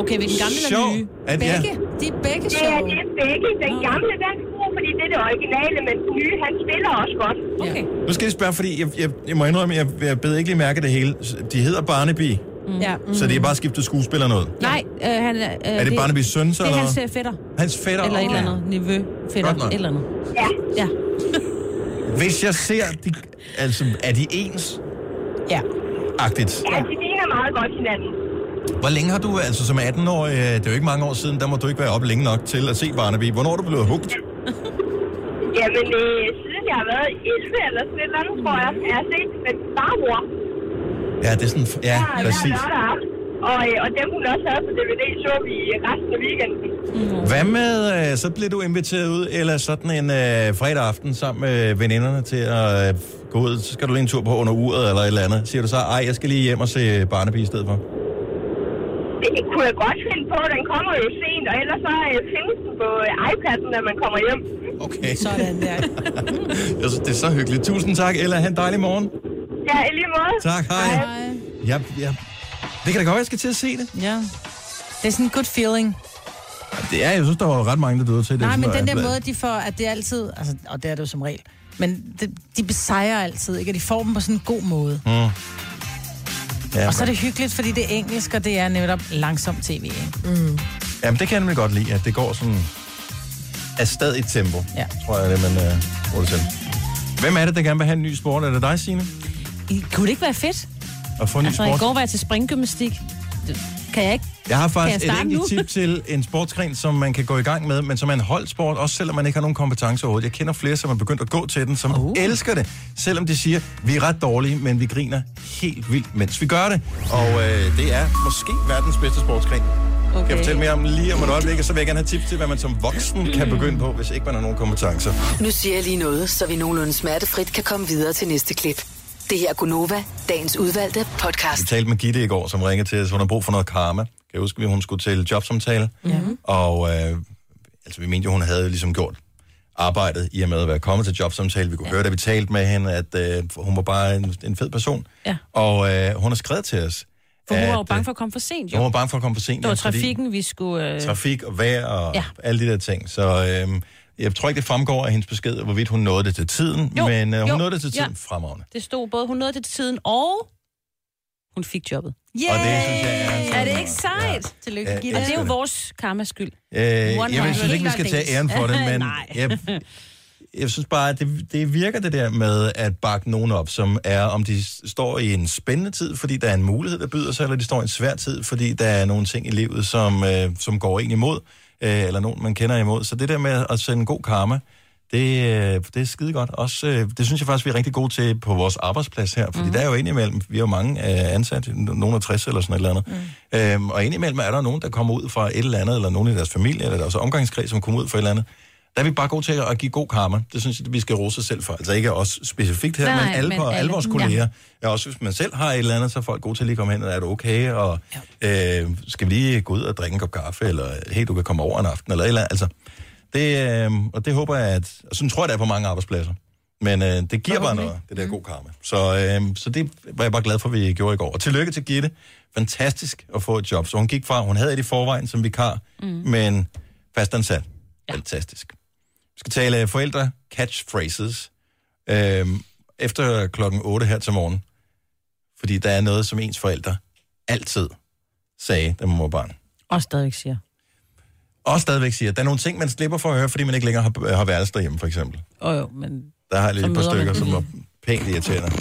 Okay, hvilken gamle eller Sjov. nye? Er det- ja. Begge. De er begge Det er, sjove. det er begge. Den gamle, der er god, fordi det er det originale, men den nye, han spiller også godt. Okay. Nu skal jeg spørge, fordi jeg, jeg, jeg må indrømme, jeg, jeg beder ikke lige mærke det hele. De hedder Barnaby, mm. Mm. Ja. så det er bare skiftet skuespillerne ud. Nej, øh, han er... Øh, Er det Barnabys søn, så, Det er eller hans hvad? øh, fætter. Hans fætter. Eller et okay. eller andet. Niveau fætter. Godt nok. Et eller andet. Ja. Ja. Hvis jeg ser, de, altså, er de ens? Ja. Agtigt. Ja, de ligner meget godt hinanden. Hvor længe har du, altså som 18 år, det er jo ikke mange år siden, der må du ikke være oppe længe nok til at se Barnaby. Hvornår er du blevet hugt? Jamen, øh, siden jeg har været 11 eller sådan et eller andet, tror jeg, jeg har set med farmor. Ja, det er sådan, ja, hver præcis. lørdag aften. Og, øh, og dem, hun også havde på DVD, så vi resten af weekenden. Hvad med, øh, så bliver du inviteret ud, eller sådan en øh, fredag aften sammen med veninderne til at øh, gå ud, så skal du lige en tur på under uret eller et eller andet. Siger du så, ej, jeg skal lige hjem og se Barnaby i stedet for? Det, det kunne jeg godt finde på. Den kommer jo sent, og ellers så øh, findes den på øh, iPad'en, når man kommer hjem. Okay. Sådan der. Jeg synes, det er så hyggeligt. Tusind tak, Ella. Ha' en dejlig morgen. Ja, i lige måde. Tak, hej. Hej. Ja, ja. Det kan da godt være, jeg skal til at se det. Ja. Det er sådan en good feeling. Det er, jeg synes, der var ret mange, der døde til det. Nej, Sådan men den noget der andet. måde, de får, at det er altid, altså, og det er det jo som regel, men det, de besejrer altid, ikke? Og de får dem på sådan en god måde. Mm. Ja, og så er det hyggeligt, fordi det er engelsk, og det er netop langsom tv, ikke? Mm. Jamen, det kan jeg nemlig godt lide, at det går sådan afsted i tempo, ja. tror jeg, det man øh, bruger det til. Hvem er det, der gerne vil have en ny sport? Er det dig, Signe? I- Kunne det ikke være fedt? At få en ny Altså, i sport? går var jeg til springgymnastik. Det- Kan jeg ikke? Jeg har kan faktisk jeg et starte enkelt nu? tip til en sportsgren, som man kan gå i gang med, men som er en holdsport, også selvom man ikke har nogen kompetence overhovedet. Jeg kender flere, som er begyndt at gå til den, som uh. elsker det, selvom de siger, vi er ret dårlige, men vi griner helt vildt, mens vi gør det. Og øh, det er måske verdens bedste sportsgren. Okay. Kan jeg fortælle mere om lige om et øjeblik, og så vil jeg gerne have tips til, hvad man som voksen kan begynde på, hvis ikke man har nogen kompetencer. Nu siger jeg lige noget, så vi nogenlunde smertefrit kan komme videre til næste klip. Det her er Gunova, dagens udvalgte podcast. Vi talte med Gitte i går, som ringede til os, hun har brug for noget karma. Kan jeg huske, at hun skulle til jobsamtale? Mm-hmm. Og øh, altså, vi mente jo, hun havde ligesom gjort arbejdet i og med at være kommet til jobsamtale. Vi kunne ja. høre, da vi talte med hende, at øh, hun var bare en, en fed person. Ja. Og øh, hun har skrevet til os. For hun at, var jo bange øh, for at komme for sent, Hun var jo. bange for at komme for sent. Det var ja, fordi trafikken, vi skulle... Øh... Trafik og vejr og ja. Ja. alle de der ting. Så øh, jeg tror ikke, det fremgår af hendes besked, hvorvidt hun nåede det til tiden. Jo, men øh, hun jo, nåede det til ja. tiden ja. fremragende. Det stod både, hun nåede det til tiden, og hun fik jobbet. Og det synes jeg er så Er det ikke sejt? Ja. Ja, Tillykke, jeg Gitte. Det er elsker jo det. vores karmas skyld. Øh, jeg vil synes ikke, vi skal Helt tage æren for det, men Nej. jeg, jeg synes bare, at det, det virker det der med at bakke nogen op, som er, om de s- står i en spændende tid, fordi der er en mulighed, der byder sig, eller de står i en svær tid, fordi der er nogle ting i livet, som, øh, som går en imod, øh, eller nogen, man kender imod. Så det der med at sende god karma, det, øh, det er skide godt. Også, øh, det synes jeg faktisk, vi er rigtig gode til på vores arbejdsplads her, fordi mm. der er jo indimellem, vi er jo mange øh, ansatte, no- nogen er 60 eller sådan et eller andet, mm. øhm, og indimellem er der nogen, der kommer ud fra et eller andet, eller nogen i deres familie, eller deres omgangskreds, som kommer ud fra et eller andet. Der er vi bare gode til at give god karma. Det synes jeg, vi skal rose os selv for. Altså ikke os specifikt her, Nej, men alle, men men alle alle. vores Ja. kolleger. Ja. Også hvis man selv har et eller andet, så er folk gode til at lige komme hen, og er du okay, og ja. øh, skal vi lige gå ud og drikke en kop kaffe, eller hey, du kan komme over en aften, eller et eller andet. Altså, det, øh, og det håber jeg, at... Og sådan tror jeg, det er på mange arbejdspladser. Men øh, det giver bare noget, det der god karma. Så, øh, så det var jeg bare glad for, at vi gjorde i går. Og tillykke til Gitte. Fantastisk at få et job. Så hun gik fra, hun havde et i forvejen som vikar, mm. men Fastansat. Ja. Fantastisk. Vi skal tale øh, forældre catchphrases øhm, efter klokken 8 her til morgen. Fordi der er noget, som ens forældre altid sagde, da man var barn. Og stadigvæk siger. Og stadigvæk siger, at der er nogle ting, man slipper for at høre, fordi man ikke længere har, har værelse derhjemme, for eksempel. Åh oh, jo, men Der har jeg lige Så et par møder stykker, man- som var pænt irriterende.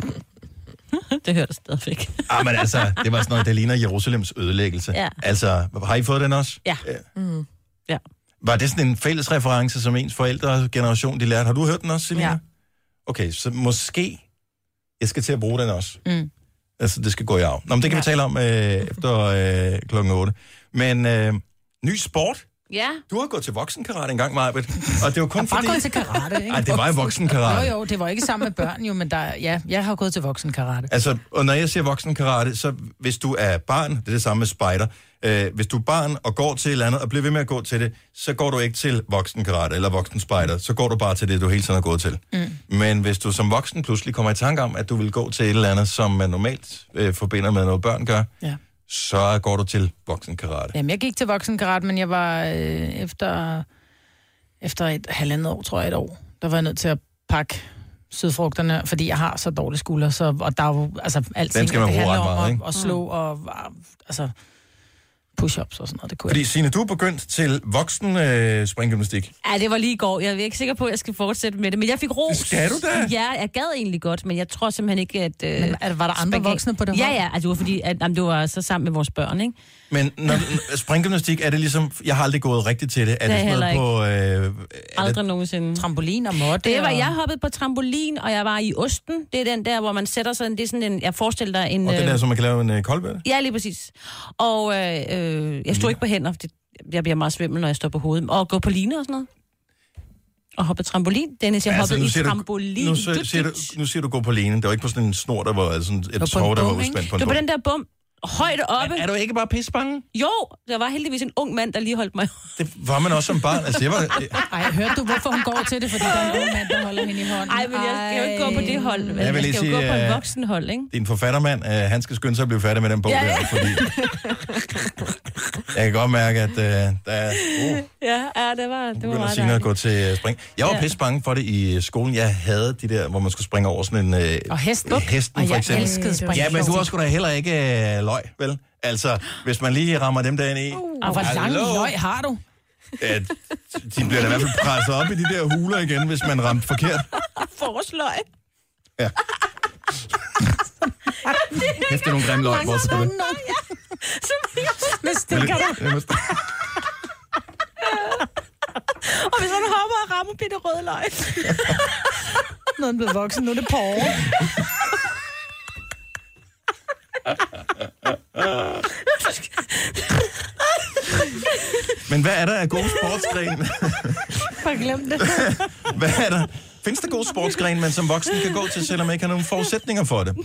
det hører der stadigvæk. Ah, men altså, det var sådan noget, der ligner Jerusalems ødelæggelse. Ja. Altså, har I fået den også? Ja. Mm. Ja. Var det sådan en fælles reference, som ens forældre generation, de lærte? Har du hørt den også, Selina? Ja. Okay, så måske jeg skal til at bruge den også. Mm. Altså, det skal gå i arv. Nå, men det kan ja. vi tale om øh, efter øh, klokken 8. Men øh, ny sport. Ja. Du har gået til voksenkarate engang, Marbet. Og det var kun Bare fordi... gået til karate, ikke? Ej, det var jo voksenkarate. Jo, jo, det var ikke sammen med børn jo, men der, ja, jeg har gået til voksenkarate. Altså, og når jeg siger voksenkarate, så hvis du er barn, det er det samme med spejder, øh, hvis du er barn og går til et eller andet, og bliver ved med at gå til det, så går du ikke til voksenkarate eller voksenspejder, så går du bare til det, du hele tiden har gået til. Mm. Men hvis du som voksen pludselig kommer i tanke om, at du vil gå til et eller andet, som man normalt øh, forbinder med noget børn gør, Ja. så går du til voksenkarate. Jamen, jeg gik til voksenkarate, men jeg var øh, efter, efter et halvandet år, tror jeg et år, der var jeg nødt til at pakke sydfrugterne, fordi jeg har så dårlige skuldre, så, og der er jo, altså, alt Den skal man det bruge handler ret meget, om ikke? at, at slå Mm. og, og, altså, push-ups og sådan noget, det kunne Fordi Signe, du er begyndt til voksen øh, springgymnastik. Ja, det var lige i går. Jeg er ikke sikker på, at jeg skal fortsætte med det, men jeg fik ros. skal du da. Ja, jeg gad egentlig godt, men jeg tror simpelthen ikke, at... Øh, men var der andre voksne på det Ja, hold? ja, altså, det var fordi, at jamen, det var så sammen med vores børn, ikke? Men når, springgymnastik, er det ligesom... Jeg har aldrig gået rigtigt til det. Er Det det, er sådan noget på... Øh, er det- Aldrig nogensinde. Trampolin og måtte. Det var, og- jeg hoppede på trampolin, og jeg var i Osten. Det er den der, hvor man sætter sig, det er sådan en, jeg forestiller dig en... og det der, øh, som man kan lave en øh, koldbøtte? Ja, lige præcis. Og øh, øh, jeg stod ikke på hænder, for det, jeg bliver meget svimmel, når jeg står på hovedet. Og gå på line og sådan noget. Og hoppe trampolin. Dennis, jeg hoppede Altså, nu i siger du- trampolin. Nu, så, siger du, nu siger du gå på lene. Det var ikke på sådan en snor, der var sådan Det var et på en tov, der var bum, ikke? udspændt på en Det var på bum. den der bum. Højt oppe. Er, er du ikke bare pissebange? Jo, der var heldigvis en ung mand, der lige holdt mig. Det var man også som barn. Altså, jeg var, Ej, hørte du, hvorfor hun går til det? Fordi der er en ung mand, der holder hende i hånden. Nej, men jeg skal jo ikke gå på det hold. Jeg Jeg, vil jeg lige skal jo gå sige, på øh, en voksenhold, ikke? din forfattermand, øh, han skal skynde sig at blive færdig med den bog Ja, der, ja. fordi... Jeg kan godt mærke, at øh, der er... Uh, Ja, ja det var, det var begynder meget Signe at dejligt. gå til øh, spring. Jeg var Ja. ja. bange for det i øh, skolen. Jeg havde de der, hvor man skulle springe over sådan en... Øh, Og hesten. hesten, Og for jeg eksempel. elskede spring. Ja, men du har sgu da heller ikke øh, løg, vel? Altså, hvis man lige rammer dem derinde i... Uh, Og hvor lang løg har du? at de bliver da i hvert fald presset op i de der huler igen, hvis man ramte forkert. Forsløg. Ja. Kæft, det er nogle grimme løg, hvor skal det? Med stikker der. Og hvis man hopper og rammer bitte rød løg. Nu er den blevet voksen, nu er det porre. Ah. Men hvad er der af gode sportsgrene? Bare glem det. Hvad er der? Findes der gode sportsgrene, man som voksen kan gå til, selvom man ikke har nogen forudsætninger for det?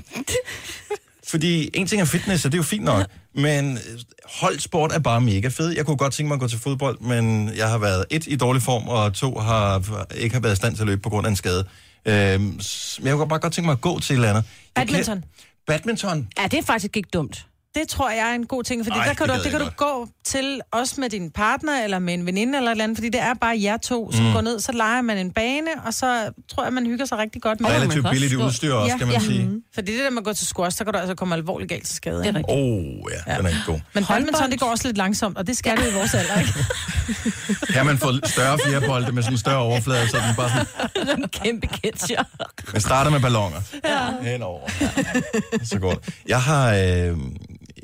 Fordi en ting er fitness, og det er jo fint nok, men øh, holdsport er bare mega fed. Jeg kunne godt tænke mig at gå til fodbold, men jeg har været et i dårlig form, og to har ikke har været i stand til at løbe på grund af en skade. Øhm, s- men jeg kunne bare godt tænke mig at gå til et eller andet. Jeg kan- Badminton. Badminton? Ja, det er faktisk ikke dumt. Det tror jeg er en god ting, fordi Ej, Ej, der kan, det du, gad det jeg kan du gå til også med din partner eller med en veninde eller et eller andet, fordi det er bare jer to, som Mm. mm. går ned, så leger man en bane, og så tror jeg, man hygger sig rigtig godt med Og det. relativt billigt udstyr også, kan man sige. Mhm. Fordi det der med at gå til squash, der kan du altså komme alvorligt galt til skade. Ikke? Åh, oh, ja, den er ikke god. Men badminton, det går også lidt langsomt, og det skal det i vores alder, ikke? Kan man få større fjerbolde med sådan en større overflade, så den bare sådan, en kæmpe ketcher. man starter med ballonger. Ja. Henover. Så går det. Jeg har, øh,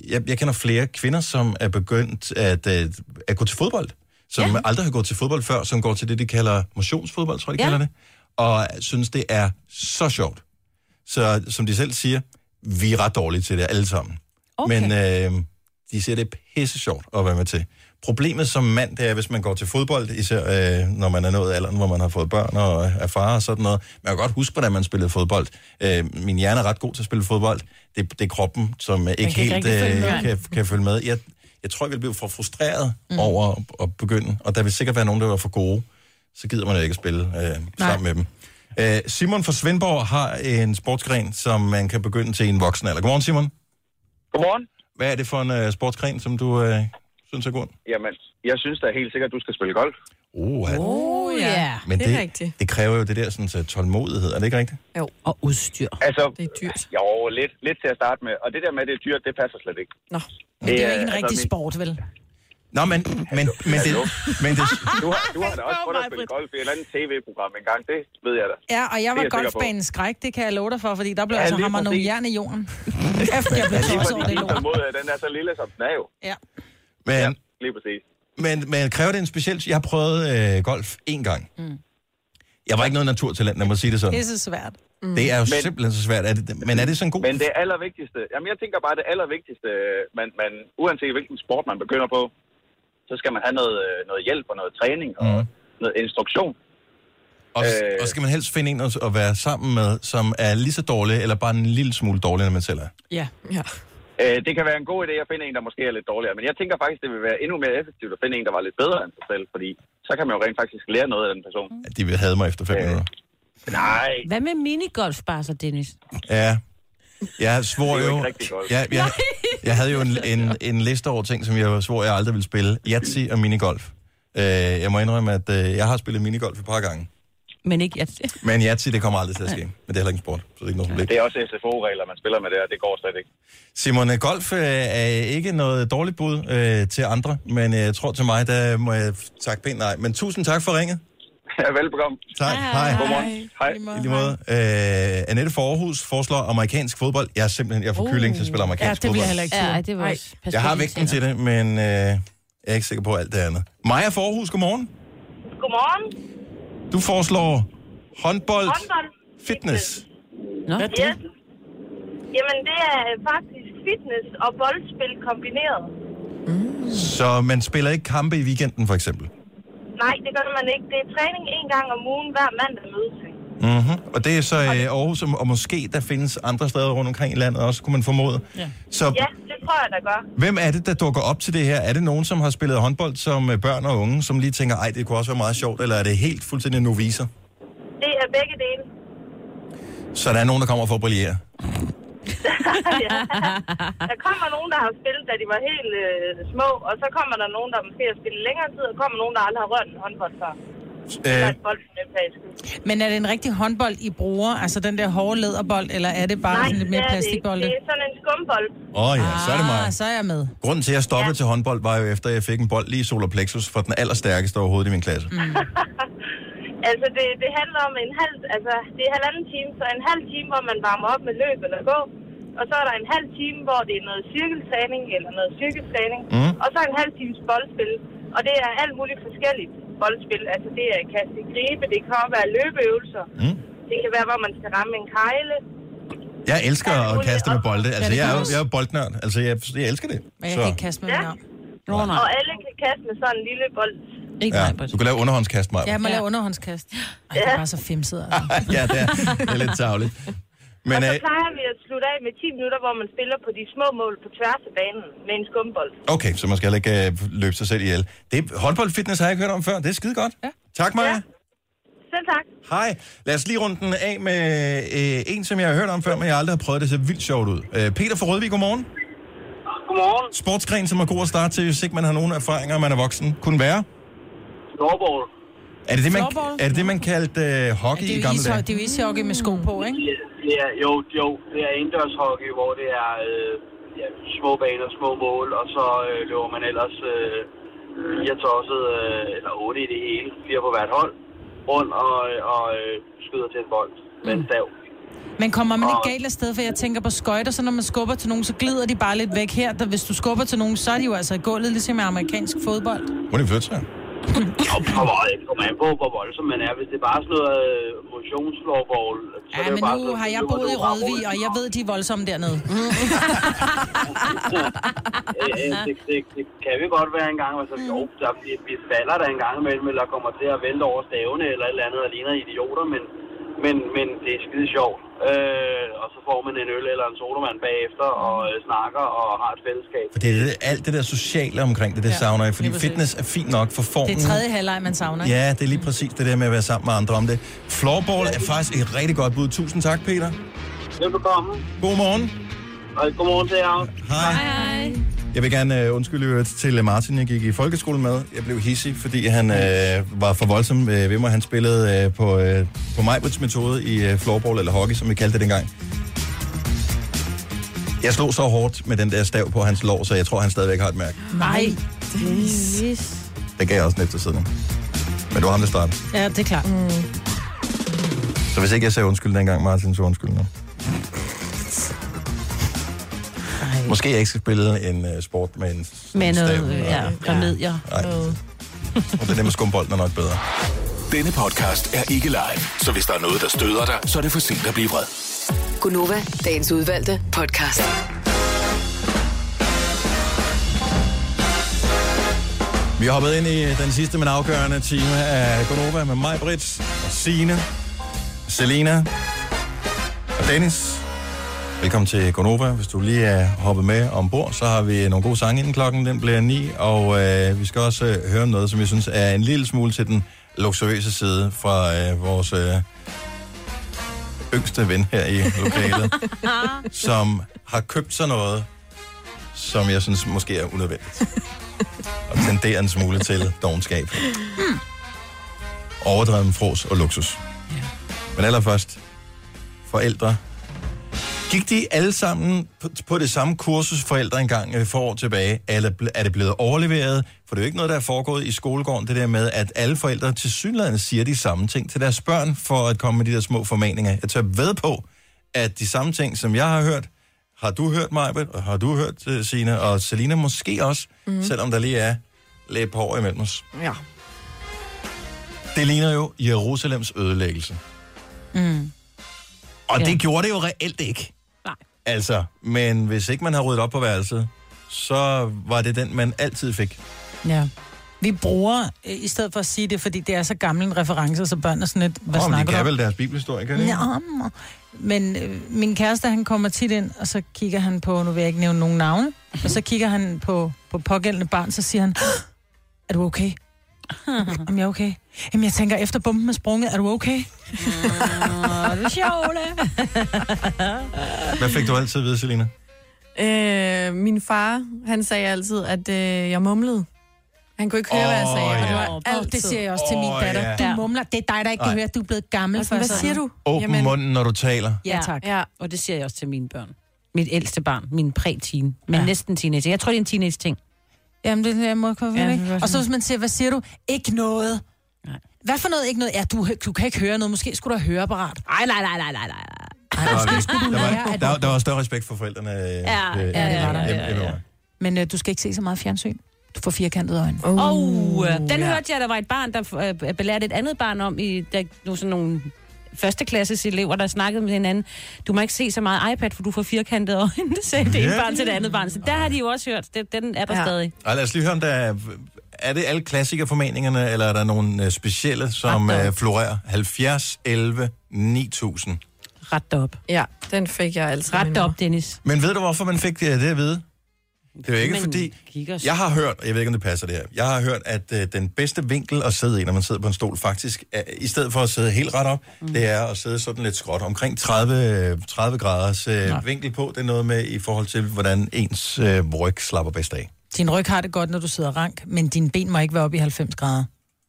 jeg, jeg kender flere kvinder, som er begyndt at, øh, at gå til fodbold, som ja. aldrig har gået til fodbold før, som går til det, de kalder motionsfodbold, tror jeg, de Ja. ja. kalder det, og synes, det er så sjovt. Så som de selv siger, vi er ret dårlige til det alle sammen. Okay. Men øh, de siger, det er pisse sjovt at være med til. Problemet som mand, det er, hvis man går til fodbold, især øh, når man er nået alderen, hvor man har fået børn og øh, er far og sådan noget. Man kan godt huske, hvordan man spillede fodbold. Øh, min hjerne er ret god til at spille fodbold. Det, det er kroppen, som øh, ikke kan ikke helt rigtig følge øh, med. kan, kan følge med. Jeg, jeg tror, jeg ville blive for frustreret mm. over at, at begynde, og der vil sikkert være nogen, der var for gode. Så gider man jo ikke at spille øh, sammen med dem. Øh, Simon fra Svendborg har en sportsgren, som man kan begynde til i en voksen alder. Godmorgen, Simon. Godmorgen. Hvad er det for en øh, sportsgren, som du øh, synes er god? Jamen, jeg synes da helt sikkert, at du skal spille golf. Uh, Oh, ja. Men det, det, det kræver jo det der sådan, så tålmodighed, er det ikke rigtigt? Jo. Og udstyr. Altså, det er dyrt. Jo, lidt, lidt til at starte med. Og det der med, at det er dyrt, det passer slet ikke. Nå, men det er jo ikke en altså, rigtig min- sport, vel? Nå, men, men, men, det, men det, Du har, du har da også prøvet at spille golf i et eller andet tv-program engang, det ved jeg da. Ja, og jeg Det er jeg var sikker på. golfbanen skræk, det kan jeg love dig for, fordi der blev Ja, ja, altså lige hammer nogle præcis. jern i jorden. Efter jeg blev Men lige tosset fordi over det din lort. tålmodighed, den er så lille som den er jo. Ja. men, ja. Lige præcis. Men, men kræver det en speciel... Jeg har prøvet øh, golf én gang. Mm. Jeg var ikke noget naturtalent, lad mig sige det sådan. Det er så svært. Mm. Det er jo men, simpelthen så svært. Er det, men er det sådan god... Men det allervigtigste, jamen jeg tænker bare, det allervigtigste, øh, man, man, uanset hvilken sport man begynder på, så skal man have noget, øh, noget hjælp og noget træning og Mhm. noget instruktion. Og, øh... og skal man helst finde en at, at være sammen med, som er lige så dårlig, eller bare en lille smule dårligere, end man selv er? Ja. ja. Øh, det kan være en god idé at finde en, der måske er lidt dårligere, men jeg tænker faktisk, det vil være endnu mere effektivt at finde en, der var lidt bedre end sig selv, fordi så kan man jo rent faktisk lære noget af den person. De vil have mig efter fem øh... minutter. Nej. Hvad med minigolf bare så, Dennis? Ja. Jeg svor Det er jo jo... ikke rigtig golf. Jeg, jeg, jeg havde jo en, en, en liste over ting, som jeg svor, jeg aldrig ville spille. Yatzy og minigolf. Øh, jeg må indrømme, at øh, jeg har spillet minigolf et par gange. Men ikke jeg. Men Yatzy, det kommer aldrig til at ske. Men det er heller ikke en sport, så det er ikke noget problem. Det er også SFO-regler, man spiller med der, det går slet ikke. Simon, øh, golf øh, er ikke noget dårligt bud øh, til andre, men øh, jeg tror til mig, der må jeg takke pænt nej. Men tusind tak for ringet. Ja, velbekomme. Tak. Hej. Godmorgen. Hej. I lige måde. Øh, Annette fra Aarhus foreslår amerikansk fodbold. Jeg er simpelthen, jeg får uh, kylling til at spille amerikansk Ja, det bliver fodbold. jeg heller ikke til. Ja, det var også- Ej. pas Jeg på, har det vægten til det, men øh, jeg er ikke sikker på alt det andet. Maja fra Aarhus, godmorgen. Godmorgen. Du foreslår håndbold, Håndbold. fitness. Nå, Yes. Jamen, det er faktisk fitness og boldspil kombineret. Så man spiller ikke kampe i weekenden, for eksempel. Nej, det gør man ikke. Det er træning en gang om ugen, hver mandag mødes vi. Mm-hmm. Og det er så øh, Aarhus, og, og måske der findes andre steder rundt omkring i landet også, kunne man formode. Ja. Så ja, det tror jeg, der gør. Hvem er det, der dukker op til det her? Er det nogen, som har spillet håndbold som øh, børn og unge, som lige tænker, ej, det kunne også være meget sjovt, eller er det helt fuldstændig noviser? Det er begge dele. Så der er nogen, der kommer for at brillere. ja. Der kommer nogen, der har spillet, da de var helt øh, små, og så kommer der nogen, der måske har spillet længere tid, og kommer nogen, der aldrig har rørt en håndbold før. Øh, Bold, for den sags skyld. Men er det en rigtig håndbold, I bruger? Altså den der hårde læderbold, eller er det bare Nej, sådan lidt mere det er det ikke. plastikbolde? Det er sådan en skumbold. Åh oh, ja, så er det mig. Ah, så er jeg med. Grunden til, at jeg stoppede ja. til håndbold, var jo efter, at jeg fik en bold lige i solarplexus fra den allerstærkeste overhovedet i min klasse. Mm. Altså, det, det handler om en halv... Altså, det er halvanden time, så en halv time, hvor man varmer op med løb eller gå. Og så er der en halv time, hvor det er noget cirkeltræning eller noget styrketræning. Mm. Og så en halv times boldspil. Og det er alt muligt forskelligt boldspil. Altså, det er kast i gribe, det kan også være løbeøvelser. Mm. Det kan være, hvor man skal ramme en kejle. Jeg elsker at kaste med bolde. Ja, Altså, det jeg er, kan jo- du. jeg er jo boldnørd. Altså, jeg, jeg elsker det. Så, kaste med ja. Og alle kan kaste med sådan en lille bold. ja, du kan lave underhåndskast, mig. Ja, man laver underhåndskast. Ej, det er bare så femset, altså. ja, det er, det er lidt tavligt. Men og øh, så plejer vi at slutte af med 10 minutter, hvor man spiller på de små mål på tværs af banen med en skumbold. okay, så man skal heller ikke øh, løbe sig selv ihjel. Det, håndboldfitness har jeg ikke hørt om før. Det er skide godt. Ja. Tak, Maja. Ja. Selv tak. Hej. Lad os lige runde den af med øh, en, som jeg har hørt om før, men jeg aldrig har prøvet. Det ser vildt sjovt ud. Øh, Peter fra Rødvig, godmorgen. Godmorgen. Sportsgren, som er god at starte til, hvis ikke man har nogen erfaringer, og man er voksen, kunne være. Floorball. Er det det, man, Floorball? er det, det, man kaldte øh, hockey Det i er jo, gamle isho- dage? det er jo ishockey med sko på, ikke? Det er, jo, jo, det er indendørs hockey, hvor det er øh, ja, små baner, små mål, og så øh, løber man ellers øh, fire tosset, øh, eller otte i det hele, fire på hvert hold, rundt og, og øh, skyder til en bold med Mm. en stav. Men kommer man ikke galt afsted, for jeg tænker på skøjter, så når man skubber til nogen, så glider de bare lidt væk her. Da hvis du skubber til nogen, så er de jo altså i gulvet, ligesom med amerikansk fodbold. Hvor er det flytte sig? Jo, på meget, det kommer an på, hvor voldsom man er. Hvis det er bare sådan noget øh, motionsfloorball, så Ja, er det men jo bare nu sådan, har jeg løber boet du i bare Rødvig, og jeg ved, de er voldsomme Mm. dernede. Øh, øh, det, det, det kan vi godt være en gang, altså, jo, der, vi, vi falder der en gang imellem, eller kommer til at vælte over stavene, eller et eller andet, og ligner idioter, men, men, men det er skide sjovt. Øh, og så får man en øl eller en sodavand bagefter, og øh, snakker og har et fællesskab. For det er det, alt det der sociale omkring det, det ja, savner jeg. Fordi fitness er fint nok for formen. Det er tredje halvleg, man savner. ikke? Ja, det er lige præcis det der med at være sammen med andre om det. Floorball er faktisk et rigtig godt bud. Tusind tak, Peter. Velbekomme. Godmorgen. Og godmorgen til jer. Hej. Hej. Jeg vil gerne øh, undskylde i øvrigt til øh, Martin, jeg gik i folkeskole med. Jeg blev hissig, fordi han øh, var for voldsom øh, ved mig. Han spillede øh, på, øh, på Majbrits metode i øh, floorball eller hockey, som vi kaldte det dengang. Jeg slog så hårdt med den der stav på hans lår, så jeg tror, han stadigvæk har et mærke. Nej. Det gav jeg også en eftersidning. Men det var ham, der startede. Ja, det er klart. Mm. Så hvis ikke jeg sagde undskyld dengang, Martin, så undskyld nu. Måske jeg ikke skal spille en uh, sport med en... Med noget, Staven, øh, og- ja, remedier. Nej. Og det der med skumbolden er nok bedre. Denne podcast er ikke live, så hvis der er noget, der støder dig, så er det for sent at blive vred. Gunova, dagens udvalgte podcast. Vi har hoppet ind i den sidste, men afgørende time af Gonova med mig, Britt, og Signe, Selina og Dennis. Velkommen til Gonova. Hvis du lige er hoppet med ombord, så har vi nogle gode sange inden klokken. Den bliver 9, og øh, vi skal også øh, høre om noget, som vi synes er en lille smule til den luksuriøse side fra øh, vores øh, yngste ven her i lokalet, som har købt sig noget, som jeg synes måske er unødvendigt og tenderer en smule til dogenskab. Hmm. Overdreven frås og luksus. Men allerførst, forældre. Gik de alle sammen på, på det samme kursus, forældre engang øh, for år tilbage? Eller ble- er det blevet overleveret? For det er jo ikke noget, der er foregået i skolegården, det der med, at alle forældre til synligheden siger de samme ting til deres børn, for at komme med de der små formaninger. Jeg tør ved på, at de samme ting, som jeg har hørt, har du hørt mig, og har du hørt øh, Signe, og Selina måske også, mm. selvom der lige er lidt på over imellem os. Mhm. Ja. Det ligner jo Jerusalems ødelæggelse. Mm. Og ja. det gjorde det jo reelt ikke. Nej. Altså, men hvis ikke man har ryddet op på værelset, så var det den, man altid fik. Ja. Vi bruger, øh, i stedet for at sige det, fordi det er så gammel en reference, så børn er sådan lidt, hvad Åh, oh, men de snakker kan du vel om? deres bibelhistorie, kan de ikke? Ja, men- men øh, min kæreste, han kommer tit ind, og så kigger han på, nu vil jeg ikke nævne nogen navne, og så kigger han på, på pågældende barn, så siger han, "Hå! er du okay? Om jeg er okay? Jamen, jeg tænker, efter bomben er sprunget, er du okay? Åh, du er sjov, Ole. Hvad fik du altid at vide, Selina? Øh, min far, han sagde altid, at øh, jeg mumlede. Han kunne ikke høre, oh, hvad jeg sagde. Åh, og det ja. var Åh, det siger jeg også til min Åh, datter. ja. Du mumler, det er dig, der ikke kan Nej. høre, du er blevet gammel. Altså, hvad for siger du? Åbn Jamen. munden, når du taler. Ja, tak. Ja. Og det siger jeg også til mine børn. Mit ældste barn, min præ-teen, men ja. næsten teenager. Jeg tror, det er en teenage-ting. Jamen, det er jeg må komme Ja, ja, det var ikke? Og så sådan. hvis man siger, hvad siger du? Ikke noget. Hvad for noget ikke noget? Ja, du, du kan ikke høre noget. Måske skulle du have høreapparat. Ej, nej, nej, nej, nej, nej. Der var, du der, lære, var, at- der, var- der var større respekt for forældrene. øh, Ja, ja, ja, ja, ja, Men øh, du skal ikke se så meget fjernsyn. Du får firkantede øjne. Åh, oh, den ja. hørte jeg, der var et barn, der øh, belærte et andet barn om, i, der nu sådan nogle førsteklasses elever, der snakkede med hinanden. Du må ikke se så meget iPad, for du får firkantede øjne, det sagde det ene Ja. barn til det andet barn. Så der har de jo også hørt. Det, den er der ja. stadig. Og lad os lige høre, om der er, er det alle klassikerformaningerne, eller er der nogle øh, specielle, som Ret dog. øh, florerer? 70, 11, 9000. Ret dig op. Ja, den fik jeg altid. Ret dig op, Dennis. Men ved du, hvorfor man fik øh, det at vide? Det er jo ikke Man fordi... kigger- Jeg har hørt, og jeg ved ikke, om det passer det her, jeg har hørt, at øh, den bedste vinkel at sidde i, når man sidder på en stol, faktisk, er, i stedet for at sidde helt ret op, mm. det er at sidde sådan lidt skråt. Omkring 30, øh, 30 graders øh, vinkel på, det er noget med i forhold til, hvordan ens øh, ryg slapper bedst af. Din ryg har det godt, når du sidder rank, men dine ben må ikke være oppe i 90 grader.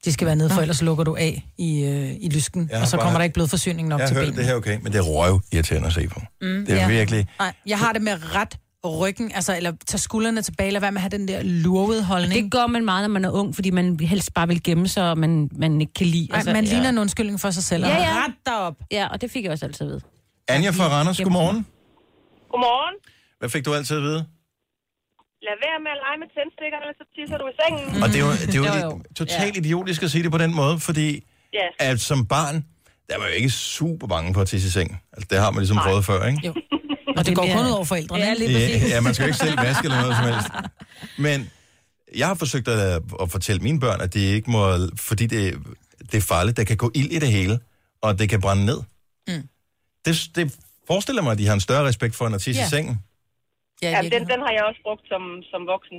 De skal være nede, for ellers lukker du af i, øh, i lysken, Jeg og har så bare- kommer der ikke blodforsyning nok jeg til har hørt, benene. at det her er okay, men det er røv irriterende at se på. Mm, det er virkelig... Nej, jeg har det med ret ryggen, altså, eller tage skuldrene tilbage, lad være med at have den der lurvede holdning. Det gør man meget, når man er ung, fordi man helst bare vil gemme sig, og man, man ikke kan lide. Ej, man Altså, ja. ligner en undskyldning for sig selv. Ja, ja. Ret dig op. Ja, og det fik jeg også altid ved. Anja fra Randers, godmorgen. Godmorgen. Hvad fik du altid at vide? Lad være med at lege med tændstikkerne, så tisser du i sengen. Og det er jo, det er jo, jo. totalt idiotisk at sige det på den måde, fordi Ja. at som barn, der var jo ikke super bange for at tisse i seng. Altså, det har man ligesom prøvet før, ikke? Jo. Og det går kun ud over forældrene. Ja, Ja, ja, man skal jo ikke selv vaske eller noget som helst. Men jeg har forsøgt at, at fortælle mine børn, at det ikke må, fordi det, det er farligt, der kan gå ild i det hele, og det kan brænde ned. Mm. Det, det forestiller mig, at de har en større respekt for, end at tisse ja. Ja. i sengen. Ja, ja, den, den har jeg også brugt som, som voksen.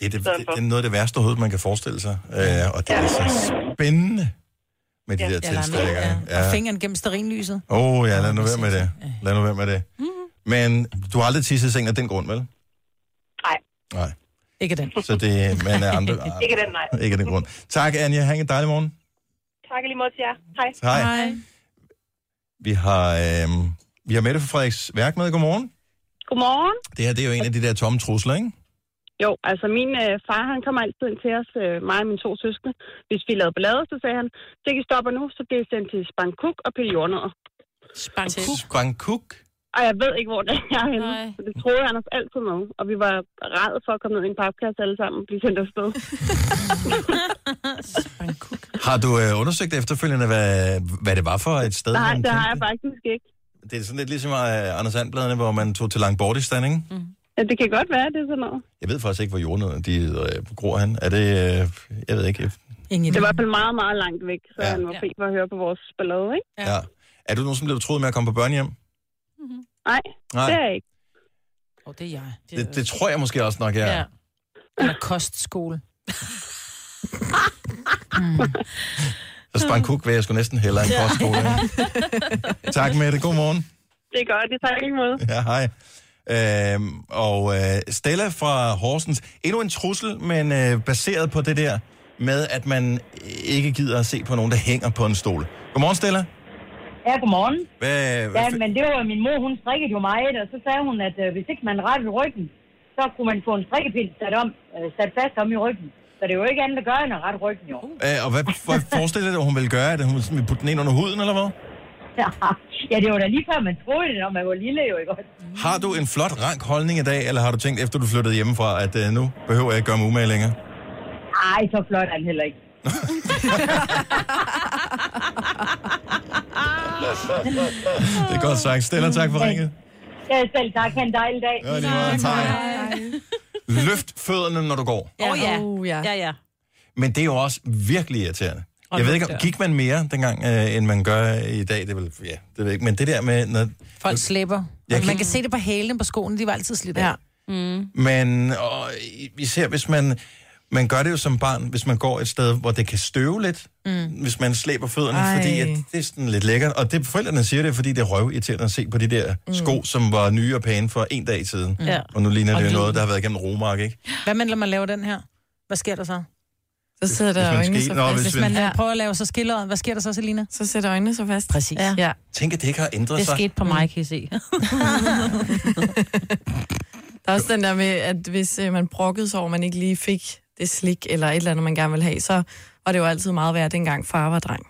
Det er, det, det, stedet for. det er noget af det værste overhovedet, man kan forestille sig. Øh, og det er så spændende med de ja, der tændstikker. Ja. Og fingeren gennem sterinlyset. Åh, oh, ja, lad nu være med det. Lad nu være med det. Men du har aldrig tisset i sengen af den grund, vel? Nej. Nej. Ikke den. Så det men er andre... Ikke den, nej. Ikke af den grund. Tak, Anja. Ha' en dejlig morgen. Tak i lige måde til jer. Hej. Hej. Hej. Vi har, øh, vi har Mette fra Frederiks værk med. Godmorgen. Godmorgen. Det her det er jo en af de der tomme trusler, ikke? Jo, altså min øh, far, han kommer altid ind til os, øh, mig og mine to søskende. Hvis vi lavede ballade, så sagde han, det kan stoppe nu, så bliver I sendt til Spangkuk og pille jordnødder. Spangkuk? Spangkuk? Og jeg ved ikke, hvor det er henne. Nej. Så det troede han os altid med. Og vi var rædde for at komme ned i en papkasse alle sammen og blive sendt afsted. Har du øh, undersøgt efterfølgende, hvad, hvad det var for et sted? Nej, man det har kendte jeg faktisk ikke. det? det er sådan lidt ligesom øh, Anders Sandbladene, hvor man tog til langt bort i stand, ikke? Ja, det kan godt være, det er sådan noget. Jeg ved faktisk ikke, hvor jordnødderne de øh, gror han. Er det... Øh, jeg ved ikke. Ingen det var i hvert fald meget, meget langt væk, så ja. han var fri for at høre på vores ballade, ikke? Ja. ja. Er du nogen, som blev troet med at komme på børnehjem? Nej, Nej. Nej, det er jeg ikke. Og det er jeg. Det, det tror jeg måske også nok, jeg er. Ja. Eller kostskole. Så sprang kuk ved, jeg skulle næsten hellere en kostskole. tak, Mette. God morgen. Det er godt, det tager jeg ikke imod. Ja, hej. Øhm, og øh, Stella fra Horsens. Endnu en trussel, men øh, baseret på det der med, at man ikke gider at se på nogen, der hænger på en stol. Godmorgen, Stella. Ja, godmorgen. Hvad, Ja, hvad- men det var min mor, hun strikkede jo meget, og så sagde hun, at øh, hvis ikke man rettede ryggen, så kunne man få en strikkepind sat, om, øh, sat fast om i ryggen. Så det er jo ikke andet at gøre, end at rette ryggen, jo. øh, og hvad, hvad forestiller du, hun vil gøre? At hun sådan vil putte den ind under huden, eller hvad? ja, det var da lige før, man troede det, når man var lille, jo ikke også? Har du en flot, rank holdning i dag, eller har du tænkt, efter du flyttede hjemmefra, at øh, nu behøver jeg ikke gøre mig umage længere? Ej, så flot er han heller ikke. Det er godt sagt. Stella, tak for ringet. Ja, selv tak. Ha' en dejlig dag. Ja, lige måde. Hej. Løft fødderne, når du går. Åh ja. Oh, ja. ja, ja. Men det er jo også virkelig irriterende. Og jeg ved lugter. ikke, om- gik man mere dengang, øh, end man gør i dag? Det er vel, ja, det ved jeg ikke. Men det der med... Når, Folk slipper. Jeg Og kan- Man kan se det på hælene på skoene, de var altid slidt af. Ja. Mm. men og, i- især hvis man... Man gør det jo som barn, hvis man går et sted, hvor det kan støve lidt, mm. hvis man slæber fødderne, Ej. Ej. fordi at det er sådan lidt lækkert. Og det, forældrene siger det, fordi det er røvirriterende at se på de der mm. sko, som var nye og pæne for en dag siden. Ja. Og nu ligner Og det jo lyden. noget, der har været igennem Romark, ikke? Hvad mener man laver den her? Hvad sker der så? Så sidder Hvis der man øjnene skal- så Nå, fast. hvis Hvis man ja. prøver at lave så skildret, hvad sker der så, Selina? Så sætter øjnene så fast. Præcis. Ja. ja. Tænk, at det ikke har ændret Det sig. Mm. skete på mig, kan I se. Der er også den der med, at hvis øh, man brokkede sig over, man ikke lige fik det slik eller et eller andet, man gerne ville have, så var det jo altid meget værd, dengang far var dreng.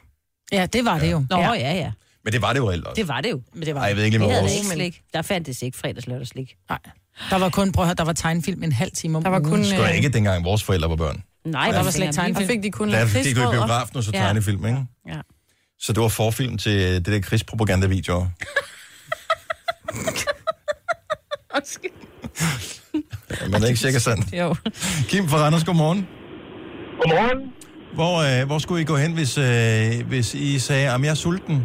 Ja, det var det jo. Nå, ja, ja. Men det var det jo reelt også. Det var det jo. Men det var Ej, jeg ved ikke lige, det med havde det vores- ikke slik. Der fandtes ikke fredags lørdag slik. Nej. Der var kun, prøv at høre, der var tegnfilm en halv time om Der var Kun, øh, Skulle øh, jeg ikke dengang vores forældre var børn. Nej, der var slet ikke tegnfilm. fik de kun Der gik du i biografen og så tegnefilm, ikke? Ja. Så det var forfilm til øh, det der krigspropagandavideo. Man er ikke sikker sådan. Jo. Kim fra Randers, godmorgen. Godmorgen. Hvor, øh, hvor skulle I gå hen, hvis, øh, hvis I sagde, at jeg er sulten?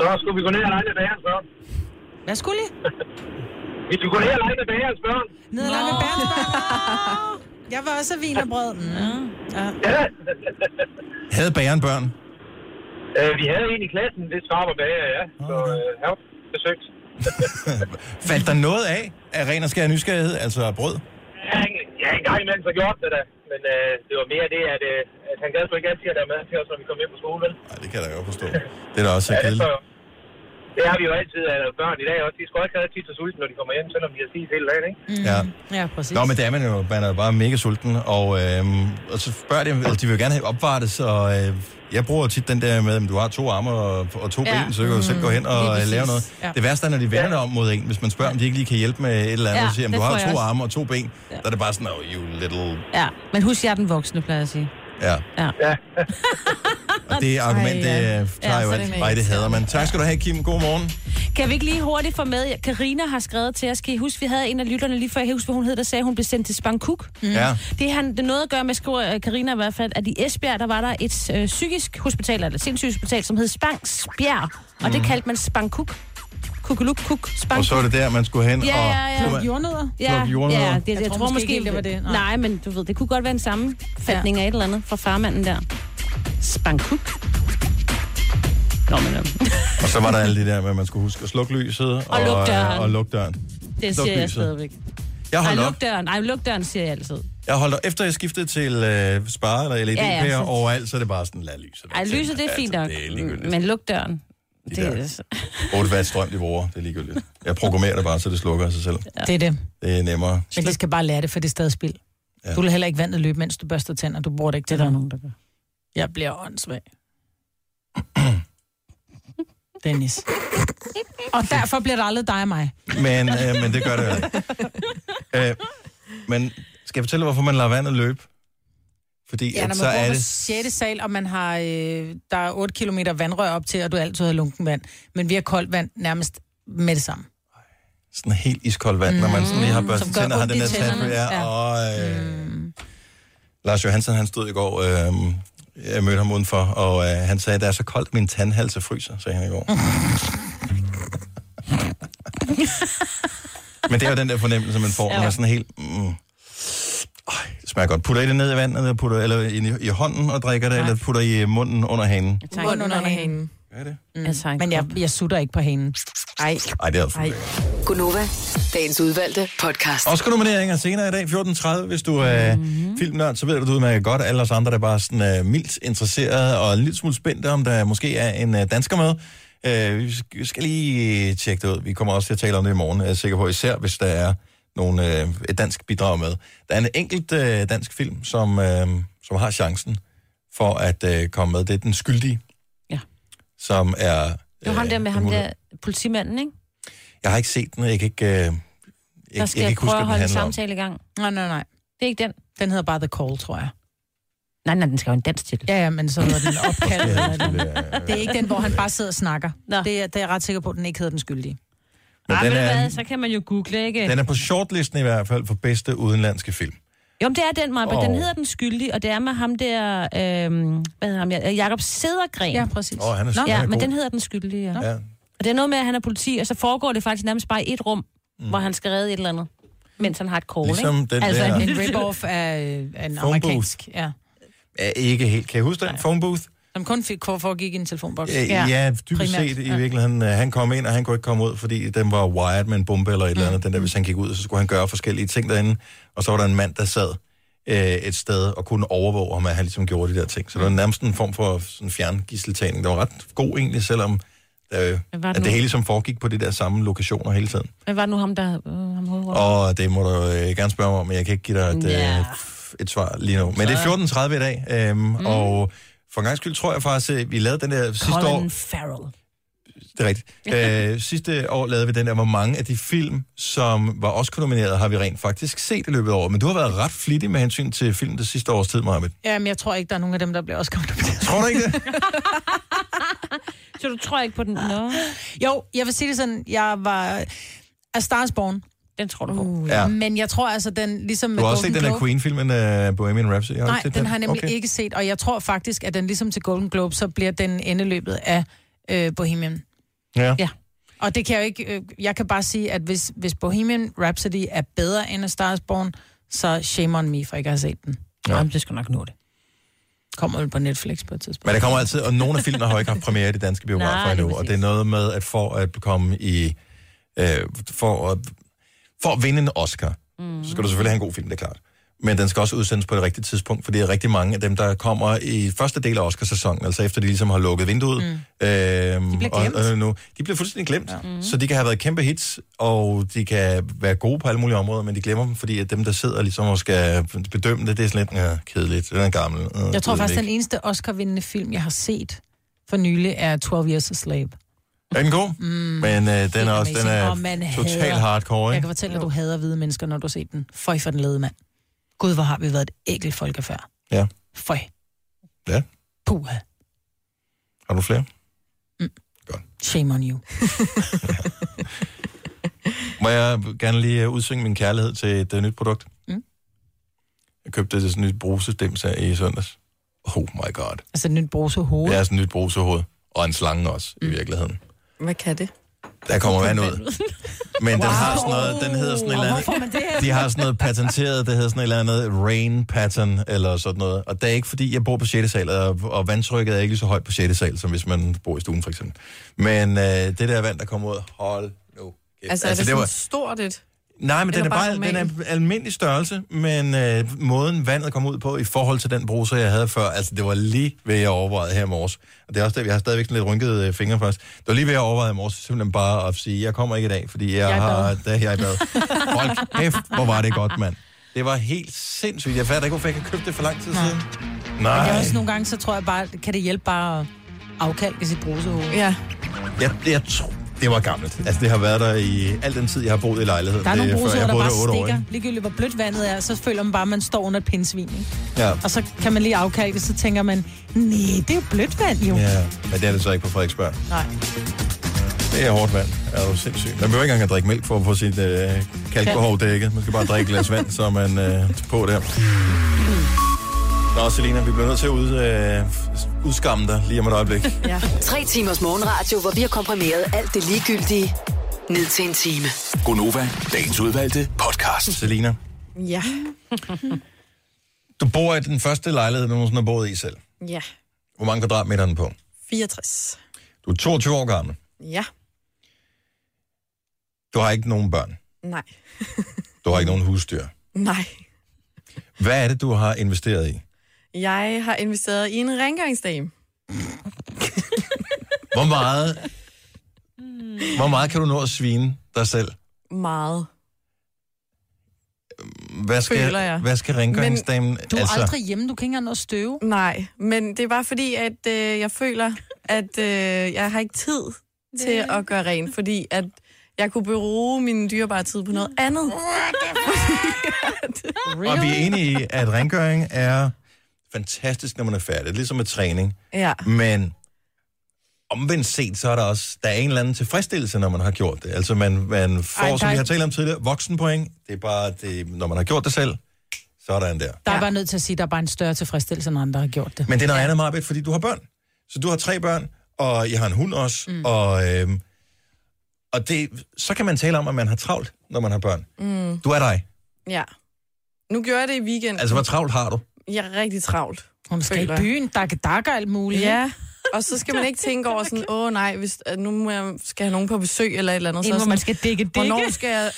Så skulle vi gå ned og lege med bagerens børn. Hvad skulle I? Vi skulle gå ned og lege med bagerens børn. Ned og lange bærens Jeg var også af vin og brød. Mm. Ja. Ja. Havde bageren børn? øh, vi havde en i klassen, det svar var bager, ja. Så øh, her besøgt. Faldt der noget af af ren og skær nysgerrighed, altså brød? Ja, en- ja, en gang imellem så gjorde det da. Men øh, det var mere det, at, øh, at han gad sgu ikke altid at være med til os, når vi kom hjem på skole, vel? Nej, det kan jeg da godt forstå. Det er da også så Ja, det kedeligt. tror jeg. Det har vi jo altid, at børn i dag også. De skal også altid så sultne, når de kommer hjem, selvom de har spist hele dagen, ikke? Mm. Ja. Ja, præcis. Nå, men det er man jo. Man er jo bare mega sulten, og, øhm, og så spørger de, altså, de vil jo gerne have opvartes, og øh, jeg bruger tit den der med, at du har to arme og, og to Ja. ben, så kan du selv gå hen Lige og øh, præcis. lave noget. Ja. Det værste er, når de vender dig om mod en, hvis man spørger, om de ikke lige kan hjælpe med et eller andet, Ja, og siger, at det du har tror jo jeg to også. arme og to ben, ja. der er det bare sådan, oh, you little... Ja, men husk, jeg er den voksne, plejer jeg at sige. Ja. Ja. ja. Og det argument, Ej, det ja. øh, tager Ja, jo så er det alt. med. Nej, det hader man. Tak skal du have, Kim. God morgen. Kan vi ikke lige hurtigt få med, Karina har skrevet til os, kan I huske, vi havde en af lytterne lige før, jeg husker, hvad hun hed, der sagde, at hun blev sendt til Spangkuk. Mm. Ja. Det har det er noget at gøre med, skriver øh, Karina i hvert fald, at i Esbjerg, der var der et øh, psykisk hospital, eller et sindssygt hospital, som hed Spangsbjerg, og Mm. det kaldte man Spangkuk. Kukuluk, kuk, Spangkuk. Og så er det der, man skulle hen Ja, og... ja, ja. Kunne man- Jordnødder? Ja, ja, Plukke jordnødder. det, jeg, jeg tror måske ikke, det var det. Nej. nej, men du ved, det kunne godt være en sammenfatning ja. af et eller andet fra farmanden der. Spangkuk. Nå, men, øhm. ja. Og så var der alle det der med, at man skulle huske at slukke lyset og, lukke døren. Og lukke døren. Det Luk siger jeg lyset. stadigvæk. Jeg holdt Ej, op. luk døren. Ej, luk døren, siger jeg altid. Jeg holdt op. Efter jeg skiftede til øh, Spare eller LED Ja, ja, ja, ja, så- overalt, så er det bare sådan, lad lyset. Ej, lyset, altså, det er fint nok. Men luk døren. Det er altså- 8 watt strøm, de bruger. Det er ligegyldigt. Jeg programmerer det bare, så det slukker af sig selv. Det er det. Det er nemmere. Men de skal bare lære det, for det er stadig spild. Ja. Ja. Du lader heller ikke vandet løbe, mens du børster tænder. Du bruger det ikke til, der er nogen, der gør. Jeg bliver åndssvag. Dennis. Og derfor bliver det aldrig dig og mig. Men, øh, men det gør det jo ikke. øh, men skal jeg fortælle, hvorfor man lader vandet løbe? Fordi ja, Ja, når at, man så bor er på det... 6. sal, og man har, øh, der er 8 km vandrør op til, og du altid har lunken vand. Men vi har koldt vand nærmest med det samme. sådan helt iskoldt vand, mm. når man sådan lige har børstet Som gør tænder, har ondt den i der tand. tænderne. Ja, Ja. og, Mm. øh, Lars Johansson, han stod i går, øh, jeg mødte ham udenfor, og øh, han sagde, det er så koldt, min tandhalse fryser, sagde han i går. Men det er jo den der fornemmelse, man får, når man sådan helt... Mm, øh, det smager godt. Putter I det ned i vandet, eller, putter, eller i, i hånden og drikker det, eller putter I øh, munden under hanen? Munden under hanen. Hvad er det? Mm. Men jeg, jeg sutter ikke på hanen. Ej. Ej, det er altså Gunova, dagens udvalgte podcast. Oscar nomineringer senere i dag, 14.30. Hvis du er Mhm. mm-hmm. filmnørd, så ved du, at du udmærker godt alle os andre, der bare sådan er mildt interesseret og en lille smule spændte, om der måske er en øh, dansker med. Øh, vi sk- vi skal lige tjekke det ud. Vi kommer også til at tale om det i morgen, er jeg sikker på, især hvis der er nogle, øh, et dansk bidrag med. Der er en enkelt øh, dansk film, som, øh, som har chancen for at øh, komme med. Det er Den Skyldige, Ja. som er... Det var ham der med en ham mulighed. der politimanden, ikke? Jeg har ikke set den, jeg kan ikke, øh, jeg, Der jeg skal kan jeg ikke huske, hvad prøve den at holde en handler om. samtale i gang. Nej, nej, nej. Det er ikke den. Den hedder bare The Call, tror jeg. Nej, nej, den skal jo have en dansk titel. Ja, ja, men så hedder den opkald. Måske eller noget. det er ikke den, hvor han bare sidder og snakker. Det, er, det er jeg ret sikker på, at den ikke hedder den skyldige. Men Ej, den ved du er- hvad, så kan man jo google, ikke? Den er på shortlisten i hvert fald for bedste udenlandske film. Jo, men det er den, Maja, oh. den Åh. hedder Den Skyldige, og det er med ham der, øhm, hvad hedder ham, ja, Jakob Sædergren. Ja, præcis. Åh, han er- Nå, han er ja, god. men den hedder Den Skyldige, ja. Ja. Og det er noget med, at han er politi, og så foregår det faktisk nærmest bare i et rum, mm. hvor han skal redde et eller andet, mens han har et call, Ligesom ikke? den altså, der- En rip-off af øh, af en Phone amerikansk... booth. Ja. Er ikke helt. Kan I huske den? Phone booth? Som kun fik, foregik i en telefonboks. Ja, Øh, ja dybest set i virkeligheden. øh, Han kom ind, og han kunne ikke komme ud, fordi den var wired med en bombe eller et Mm. eller andet. Den der, hvis han gik ud, så skulle han gøre forskellige ting derinde. Og så var der en mand, der sad øh, et sted og kunne overvåge ham, at han ligesom gjorde de der ting. Så Mm. det var nærmest en form for sådan fjerngisseltagning. Det var ret god egentlig, selvom øh, Hvad var det at det nu? hele som foregik på de der samme lokationer hele tiden. Hvad var det nu ham, der... Øh, ham hovedrollen? Og det må du øh, gerne spørge mig om, men jeg kan ikke give dig et, Ja. øh, f- et svar lige nu. Men det Så- er 14.30 i dag, øhm, mm. og for en gang skyld tror jeg faktisk, at vi lavede den der sidste år. Colin Farrell. Det er rigtigt. Øh, sidste år lavede vi den der, hvor mange af de film, som var også nomineret, har vi rent faktisk set i løbet af året. Men du har været ret flittig med hensyn til filmen det sidste års tid, Marvind. Ja, men jeg tror ikke, der er nogen af dem, der bliver også kommet Tror du ikke det? Så du tror ikke på den? Nå. Jo, jeg vil sige det sådan, jeg var... A Stars Born. Den tror du på. Uh, Ja. ja. Men jeg tror altså, den ligesom... Du har også set Golden den der Globe- Queen-filmen uh, Bohemian Rhapsody. Har du Nej, ikke den, set har jeg nemlig okay. ikke set, og jeg tror faktisk, at den ligesom til Golden Globe, så bliver den endeløbet af øh, Bohemian. Ja. ja. Og det kan jeg jo ikke... Øh, jeg kan bare sige, at hvis, hvis Bohemian Rhapsody er bedre end A Star is Born, så shame on me, for ikke at have set den. Ja. Jamen, det skal nok nå det. Kommer vel på Netflix på et tidspunkt. Men der kommer altid, og nogle af filmene har jo ikke haft premiere i de danske biografer Nej, lige endnu, og det er noget med, at for at komme i, øh, for, at, for at vinde en Oscar, mm. så skal du selvfølgelig have en god film, det er klart. Men den skal også udsendes på det rigtige tidspunkt, for det er rigtig mange af dem, der kommer i første del af Oscarsæsonen, altså efter de ligesom har lukket vinduet. Mm. Øhm, de bliver glemt. Og, og nu, de bliver fuldstændig glemt, ja. mm. så de kan have været kæmpe hits, og de kan være gode på alle mulige områder, men de glemmer dem, fordi at dem, der sidder ligesom og skal bedømme det, det er sådan lidt ja, kedeligt, den er gammel. øh, Jeg tror ved faktisk, ikke. den eneste Oscar-vindende film, jeg har set for nylig, er 12 Years a Slave. Er den god? Mm. Men øh, den er også den amazing. er Og man hader- totalt hardcore, Jeg ikke? kan fortælle dig, at du hader hvide mennesker, når du har set den. Føj for den lede mand. Gud, hvor har vi været et ægelt folkefærd. Ja. Føj. Ja. Puha. Har du flere? Shame on you. Må jeg gerne lige øh, udsynge min kærlighed til et uh, nyt produkt? Mm. Jeg købte sådan et nyt brusestims her i søndags. Oh my god. Altså et nyt Mm. brose Det hoved. er sådan et nyt brusehoved. Og en slange også, i virkeligheden. Hvad kan det? Der kommer vand ud. Men den har sådan noget, den hedder sådan et Og eller hvor får man andet. det her? De har sådan noget patenteret, det hedder sådan et eller andet rain pattern eller sådan noget. Og det er ikke fordi, jeg bor på 6. sal, og, og vandtrykket er ikke lige så højt på 6. sal, som hvis man bor i stuen for eksempel. Men øh, det der vand, der kommer ud, hold nu. kæft. Altså, altså, er det, var- sådan stort et? Nej, men den Eller er, bare bare, den er normal? almindelig størrelse, men øh, måden vandet kom ud på i forhold til den bruser, jeg havde før, altså det var lige ved, jeg overvejede her i morges. Og det er også det, jeg har stadigvæk sådan lidt rynkede øh, fingre først. Det var lige ved, jeg overvejede i morges, simpelthen bare at sige, jeg kommer ikke i dag, fordi jeg, Jeg er i har... bad. Da, jeg er i bad. Hold kæft, hvor var det godt, mand. Det var helt sindssygt. Jeg fatter ikke, hvorfor jeg ikke har købt det for lang tid siden. Nej. Men det er Nej. også nogle gange, så tror jeg bare, kan det hjælpe bare at afkalke sit brusehoved. Ja. Jeg, jeg tror, det var gammelt. Altså, det har været der i al den tid, jeg har boet i lejligheden. Der er nogle Det er før- brusehoved, jeg der boede bare otte år, stikker. ikke? Ligegyldigt hvor blødt vandet er, så føler man bare, at man står under et pindsvin. ikke? Ja. Og så kan man lige afkalke, så tænker man, nej, det er jo blødt vand jo. Ja, men det er det så ikke på Frederiksberg. Nej. Det er hårdt vand. Er du sindssyg? Man behøver ikke engang at drikke mælk for at få sit øh, kalkbehov dækket. Man skal bare drikke et glas vand, så er man øh, på der. Nå, Selina, vi bliver nødt til at ud, øh, udskamme dig lige om et øjeblik. Ja. Tre timers morgenradio, hvor vi har komprimeret alt det ligegyldige ned til en time. Gonova, dagens udvalgte podcast. Selina, Ja. du bor i den første lejlighed, du nogensinde har boet i selv. ja. Hvor mange kvadratmeter er den på? 64. Du er 22 år gammel. Ja. Du har ikke nogen børn. Nej. Du har ikke nogen husdyr. Nej. Hvad er det, du har investeret i? Jeg har investeret i en rengøringsdame. Hvor meget, Hmm. hvor meget kan du nå at svine dig selv? Meget. Hvad skal, Føler jeg. Hvad skal rengøringsdamen... altså- Men du er aldrig hjemme, du kan ikke engang nå at støve. Nej, men det er bare fordi, at øh, jeg føler, at øh, jeg har ikke tid til at gøre rent, fordi at jeg kunne bruge min dyrebare tid på noget andet. Og vi er enige i, at rengøring er fantastisk, når man er færdig. Det er Ligesom med træning. Ja. Men omvendt set, så er der også der er en eller anden tilfredsstillelse, når man har gjort det. Altså man, man får, Ej, Ej, der som er vi har ikke- talt om tidligere, voksenpoint. Det er bare, det, når man har gjort det selv, så er der en der. Der er bare nødt til at sige, at der er bare en større tilfredsstillelse, end andre har gjort det. Men det er noget andet, Marbet, fordi du har børn. Så du har tre børn, og jeg har en hund også. Mm. Og, øhm, og det, så kan man tale om, at man har travlt, når man har børn. Mm, Du er dig. ja. Nu gjorde jeg det i weekenden. Altså, hvor travlt har du? Jeg er rigtig travlt. Hun skal i føler jeg. byen, dakke dakker alt muligt. Ja, ikke? og så skal man ikke tænke over sådan, åh oh, nej, hvis, at nu må jeg, skal jeg have nogen på besøg eller et eller andet. En, så er hvor sådan, man skal dække dække. Hvornår skal jeg...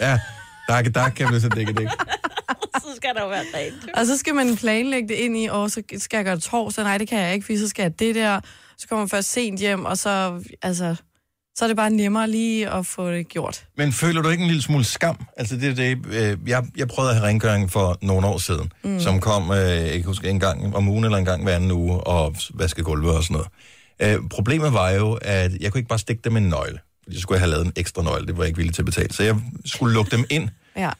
Ja, dak, dak, kan man så dække, dække. så skal der jo være rent. Og så skal man planlægge det ind i, og så skal jeg gøre det torsdag, nej det kan jeg ikke, fordi så skal jeg det der, så kommer man først sent hjem, og så, altså, så er det bare nemmere lige at få det gjort. Men føler du ikke en lille smule skam? Altså, det, er det, øh, jeg, jeg prøvede at have rengøring for nogle år siden, Mm. mm. som kom, øh, jeg kan huske, en gang om ugen eller en gang hver anden uge, og vaske gulve og sådan noget. Øh, problemet var jo, at jeg kunne ikke bare stikke dem med en nøgle, fordi så skulle jeg have lavet en ekstra nøgle, det var jeg ikke villig til at betale. Så jeg skulle lukke dem ind Ja.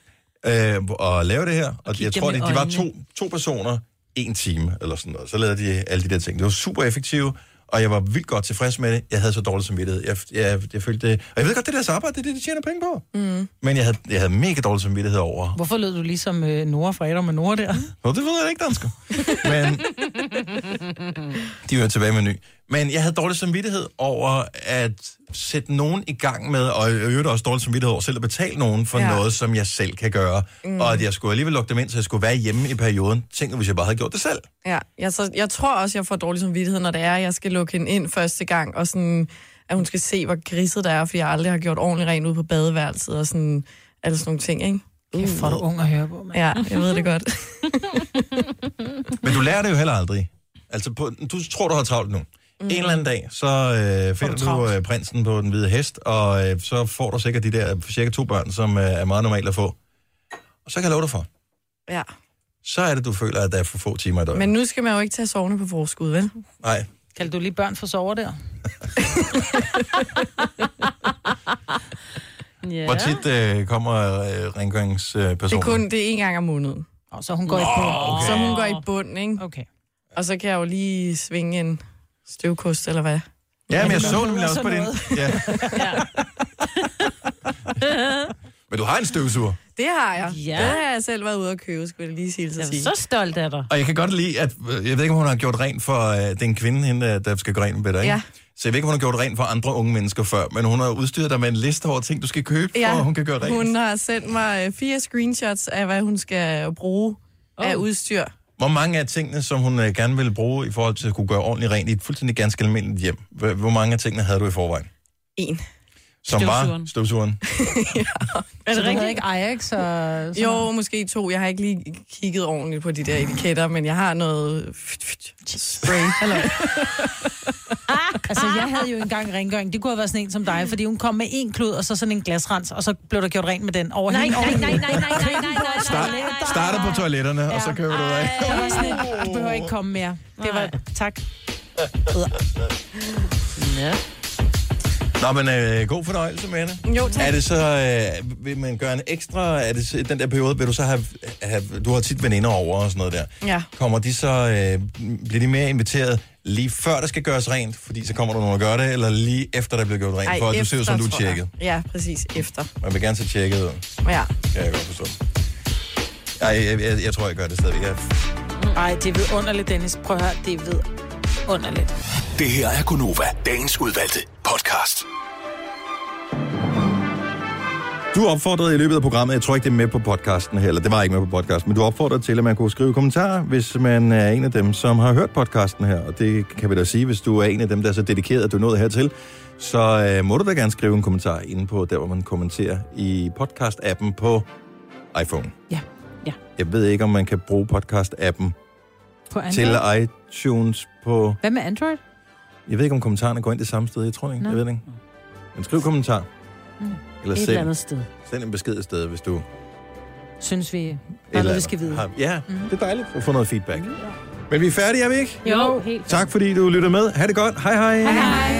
øh, og lave det her, og jeg dem tror, i det, de var øjnene. to, to personer, en time eller sådan noget. Så lavede de alle de der ting. Det var super effektive, og jeg var vildt godt tilfreds med det. Jeg havde så dårlig samvittighed. Jeg, jeg, jeg følte det... Og jeg ved godt, det er deres arbejde, det er det, de tjener penge på. Mm. Men jeg havde, jeg havde mega dårlig samvittighed over. Hvorfor lød du ligesom øh, Nora fra Adam og Nora der? Nå, det ved jeg ikke, dansker. Men de hører tilbage med ny. Men jeg havde dårlig samvittighed over at sætte nogen i gang med, og i øvrigt også dårlig samvittighed over selv at betale nogen for Ja. ja. noget, som jeg selv kan gøre. Mm. Mm. Og at jeg skulle alligevel lukke dem ind, så jeg skulle være hjemme i perioden. Tænk nu, hvis jeg bare havde gjort det selv. Ja, jeg, så, jeg tror også, jeg får dårlig samvittighed, når det er, at jeg skal lukke hende ind første gang, og sådan, at hun skal se, hvor griset der er, fordi jeg aldrig har gjort ordentligt rent ud på badeværelset, og sådan, alle sådan nogle ting, ikke? Kæft, hvor er du ung at høre på, mand. Ja, jeg ved det godt. Men du lærer det jo heller aldrig. Altså, på, du tror, du har travlt nu. Mm. En eller anden dag, så øh, finder du, du øh, prinsen på den hvide hest, og øh, så får du sikkert de der øh, cirka to børn, som øh, er meget normalt at få. Og så kan jeg love dig for, Ja. så er det, du føler, at der er for få timer i døgnet. Men nu skal man jo ikke tage sovende på forskud, vel? Nej. Kaldte du lige børn for sover der? Ja. Hvor tit øh, kommer øh, rengøringspersonen? Øh, Det er personen? kun det er en gang om måneden. Og så hun går i Nå, bund. okay. Så hun går i bund, ikke? Okay. Og så kan jeg jo lige svinge en støvkost, eller hvad? Ja, men jeg så nemlig også på din... Ja. Men du har en støvsuger. Det har jeg. Ja. Ja. Det har jeg selv været ude at købe, skulle jeg lige sige. Jeg er så stolt af dig. Og jeg kan godt lide, at... øh, Jeg ved ikke, om hun har gjort rent for... Øh, det er en kvinde, hende, øh, der skal gøre rent ved dig, ikke? Ja. Så jeg ved ikke, om hun har gjort rent for andre unge mennesker før, men hun har udstyret dig med en liste over ting, du skal købe, for at hun kan gøre rent. hun har sendt mig øh, fire screenshots af, hvad hun skal bruge oh. af udstyr. Hvor mange af tingene, som hun øh, gerne ville bruge i forhold til at kunne gøre ordentligt rent i et fuldstændig ganske almindeligt hjem, hvor hvor mange af tingene havde du i forvejen? En. Som var Støvsugeren. støvsugeren. Er det så du havde ikke Ajax og... sådan Jo, noget? måske to. Jeg har ikke lige kigget ordentligt på de der etiketter, men jeg har noget spray. Eller... Altså, jeg havde jo engang rengøring. Det kunne have været sådan en som dig, fordi hun kom med en klud, og så sådan en glasrens, og så blev der gjort rent med den over Nej, hende. nej, over nej, nej, hende. nej, nej, nej, nej, nej. Start, starter på toiletterne, og så kører du dig. Jeg var sådan lidt, Du behøver ikke komme mere. Det var... Tak. Ja. Nå, men øh, god fornøjelse med det. Jo, tak. Er det så, øh, vil man gøre en ekstra, er det så- den der periode, vil du så have, have du har tit veninder over og sådan noget der. Ja. Kommer de så, øh, bliver de mere inviteret lige før der skal gøres rent, fordi så kommer der nogen og gør det, eller lige efter der bliver gjort rent, for at du ser ud, som du er tror jeg. tjekket. Ja, præcis. Efter. Man vil gerne se tjekket ud. Ja. Kan jeg godt forstå. Ej, jeg, jeg, jeg tror, jeg gør det stadigvæk. Jeg, Ej, det er vidunderligt, Dennis. Prøv at høre, det er vidunderligt. Det her er Gunova, dagens udvalgte podcast. Du opfordrede i løbet af programmet, jeg tror ikke, det er med på podcasten her, eller det var ikke med på podcasten, men du opfordrede til, at man kunne skrive kommentarer, hvis man er en af dem, som har hørt podcasten her. Og det kan vi da sige, hvis du er en af dem, der er så dedikeret, at du nåede hertil, så øh, må du da gerne skrive en kommentar inde på, der hvor man kommenterer i podcast-appen på iPhone. Ja, ja. Jeg ved ikke, om man kan bruge podcast-appen På Android? til iTunes på... Hvad med Android? Jeg ved ikke, om kommentarerne går ind det samme sted. Jeg tror ikke, Nå. jeg ved det ikke. Men skriv kommentar. Mm. Eller Et send, eller andet sted. send en besked afsted, hvis du... Synes vi... Der er Eller noget, vi skal vide. Mm-hmm. Har, ja, mm. det er dejligt at få noget feedback. Men vi er færdige, er vi ikke? Jo, helt Tak fordi du lytter med. Ha' det godt. Hej hej. Hej hej.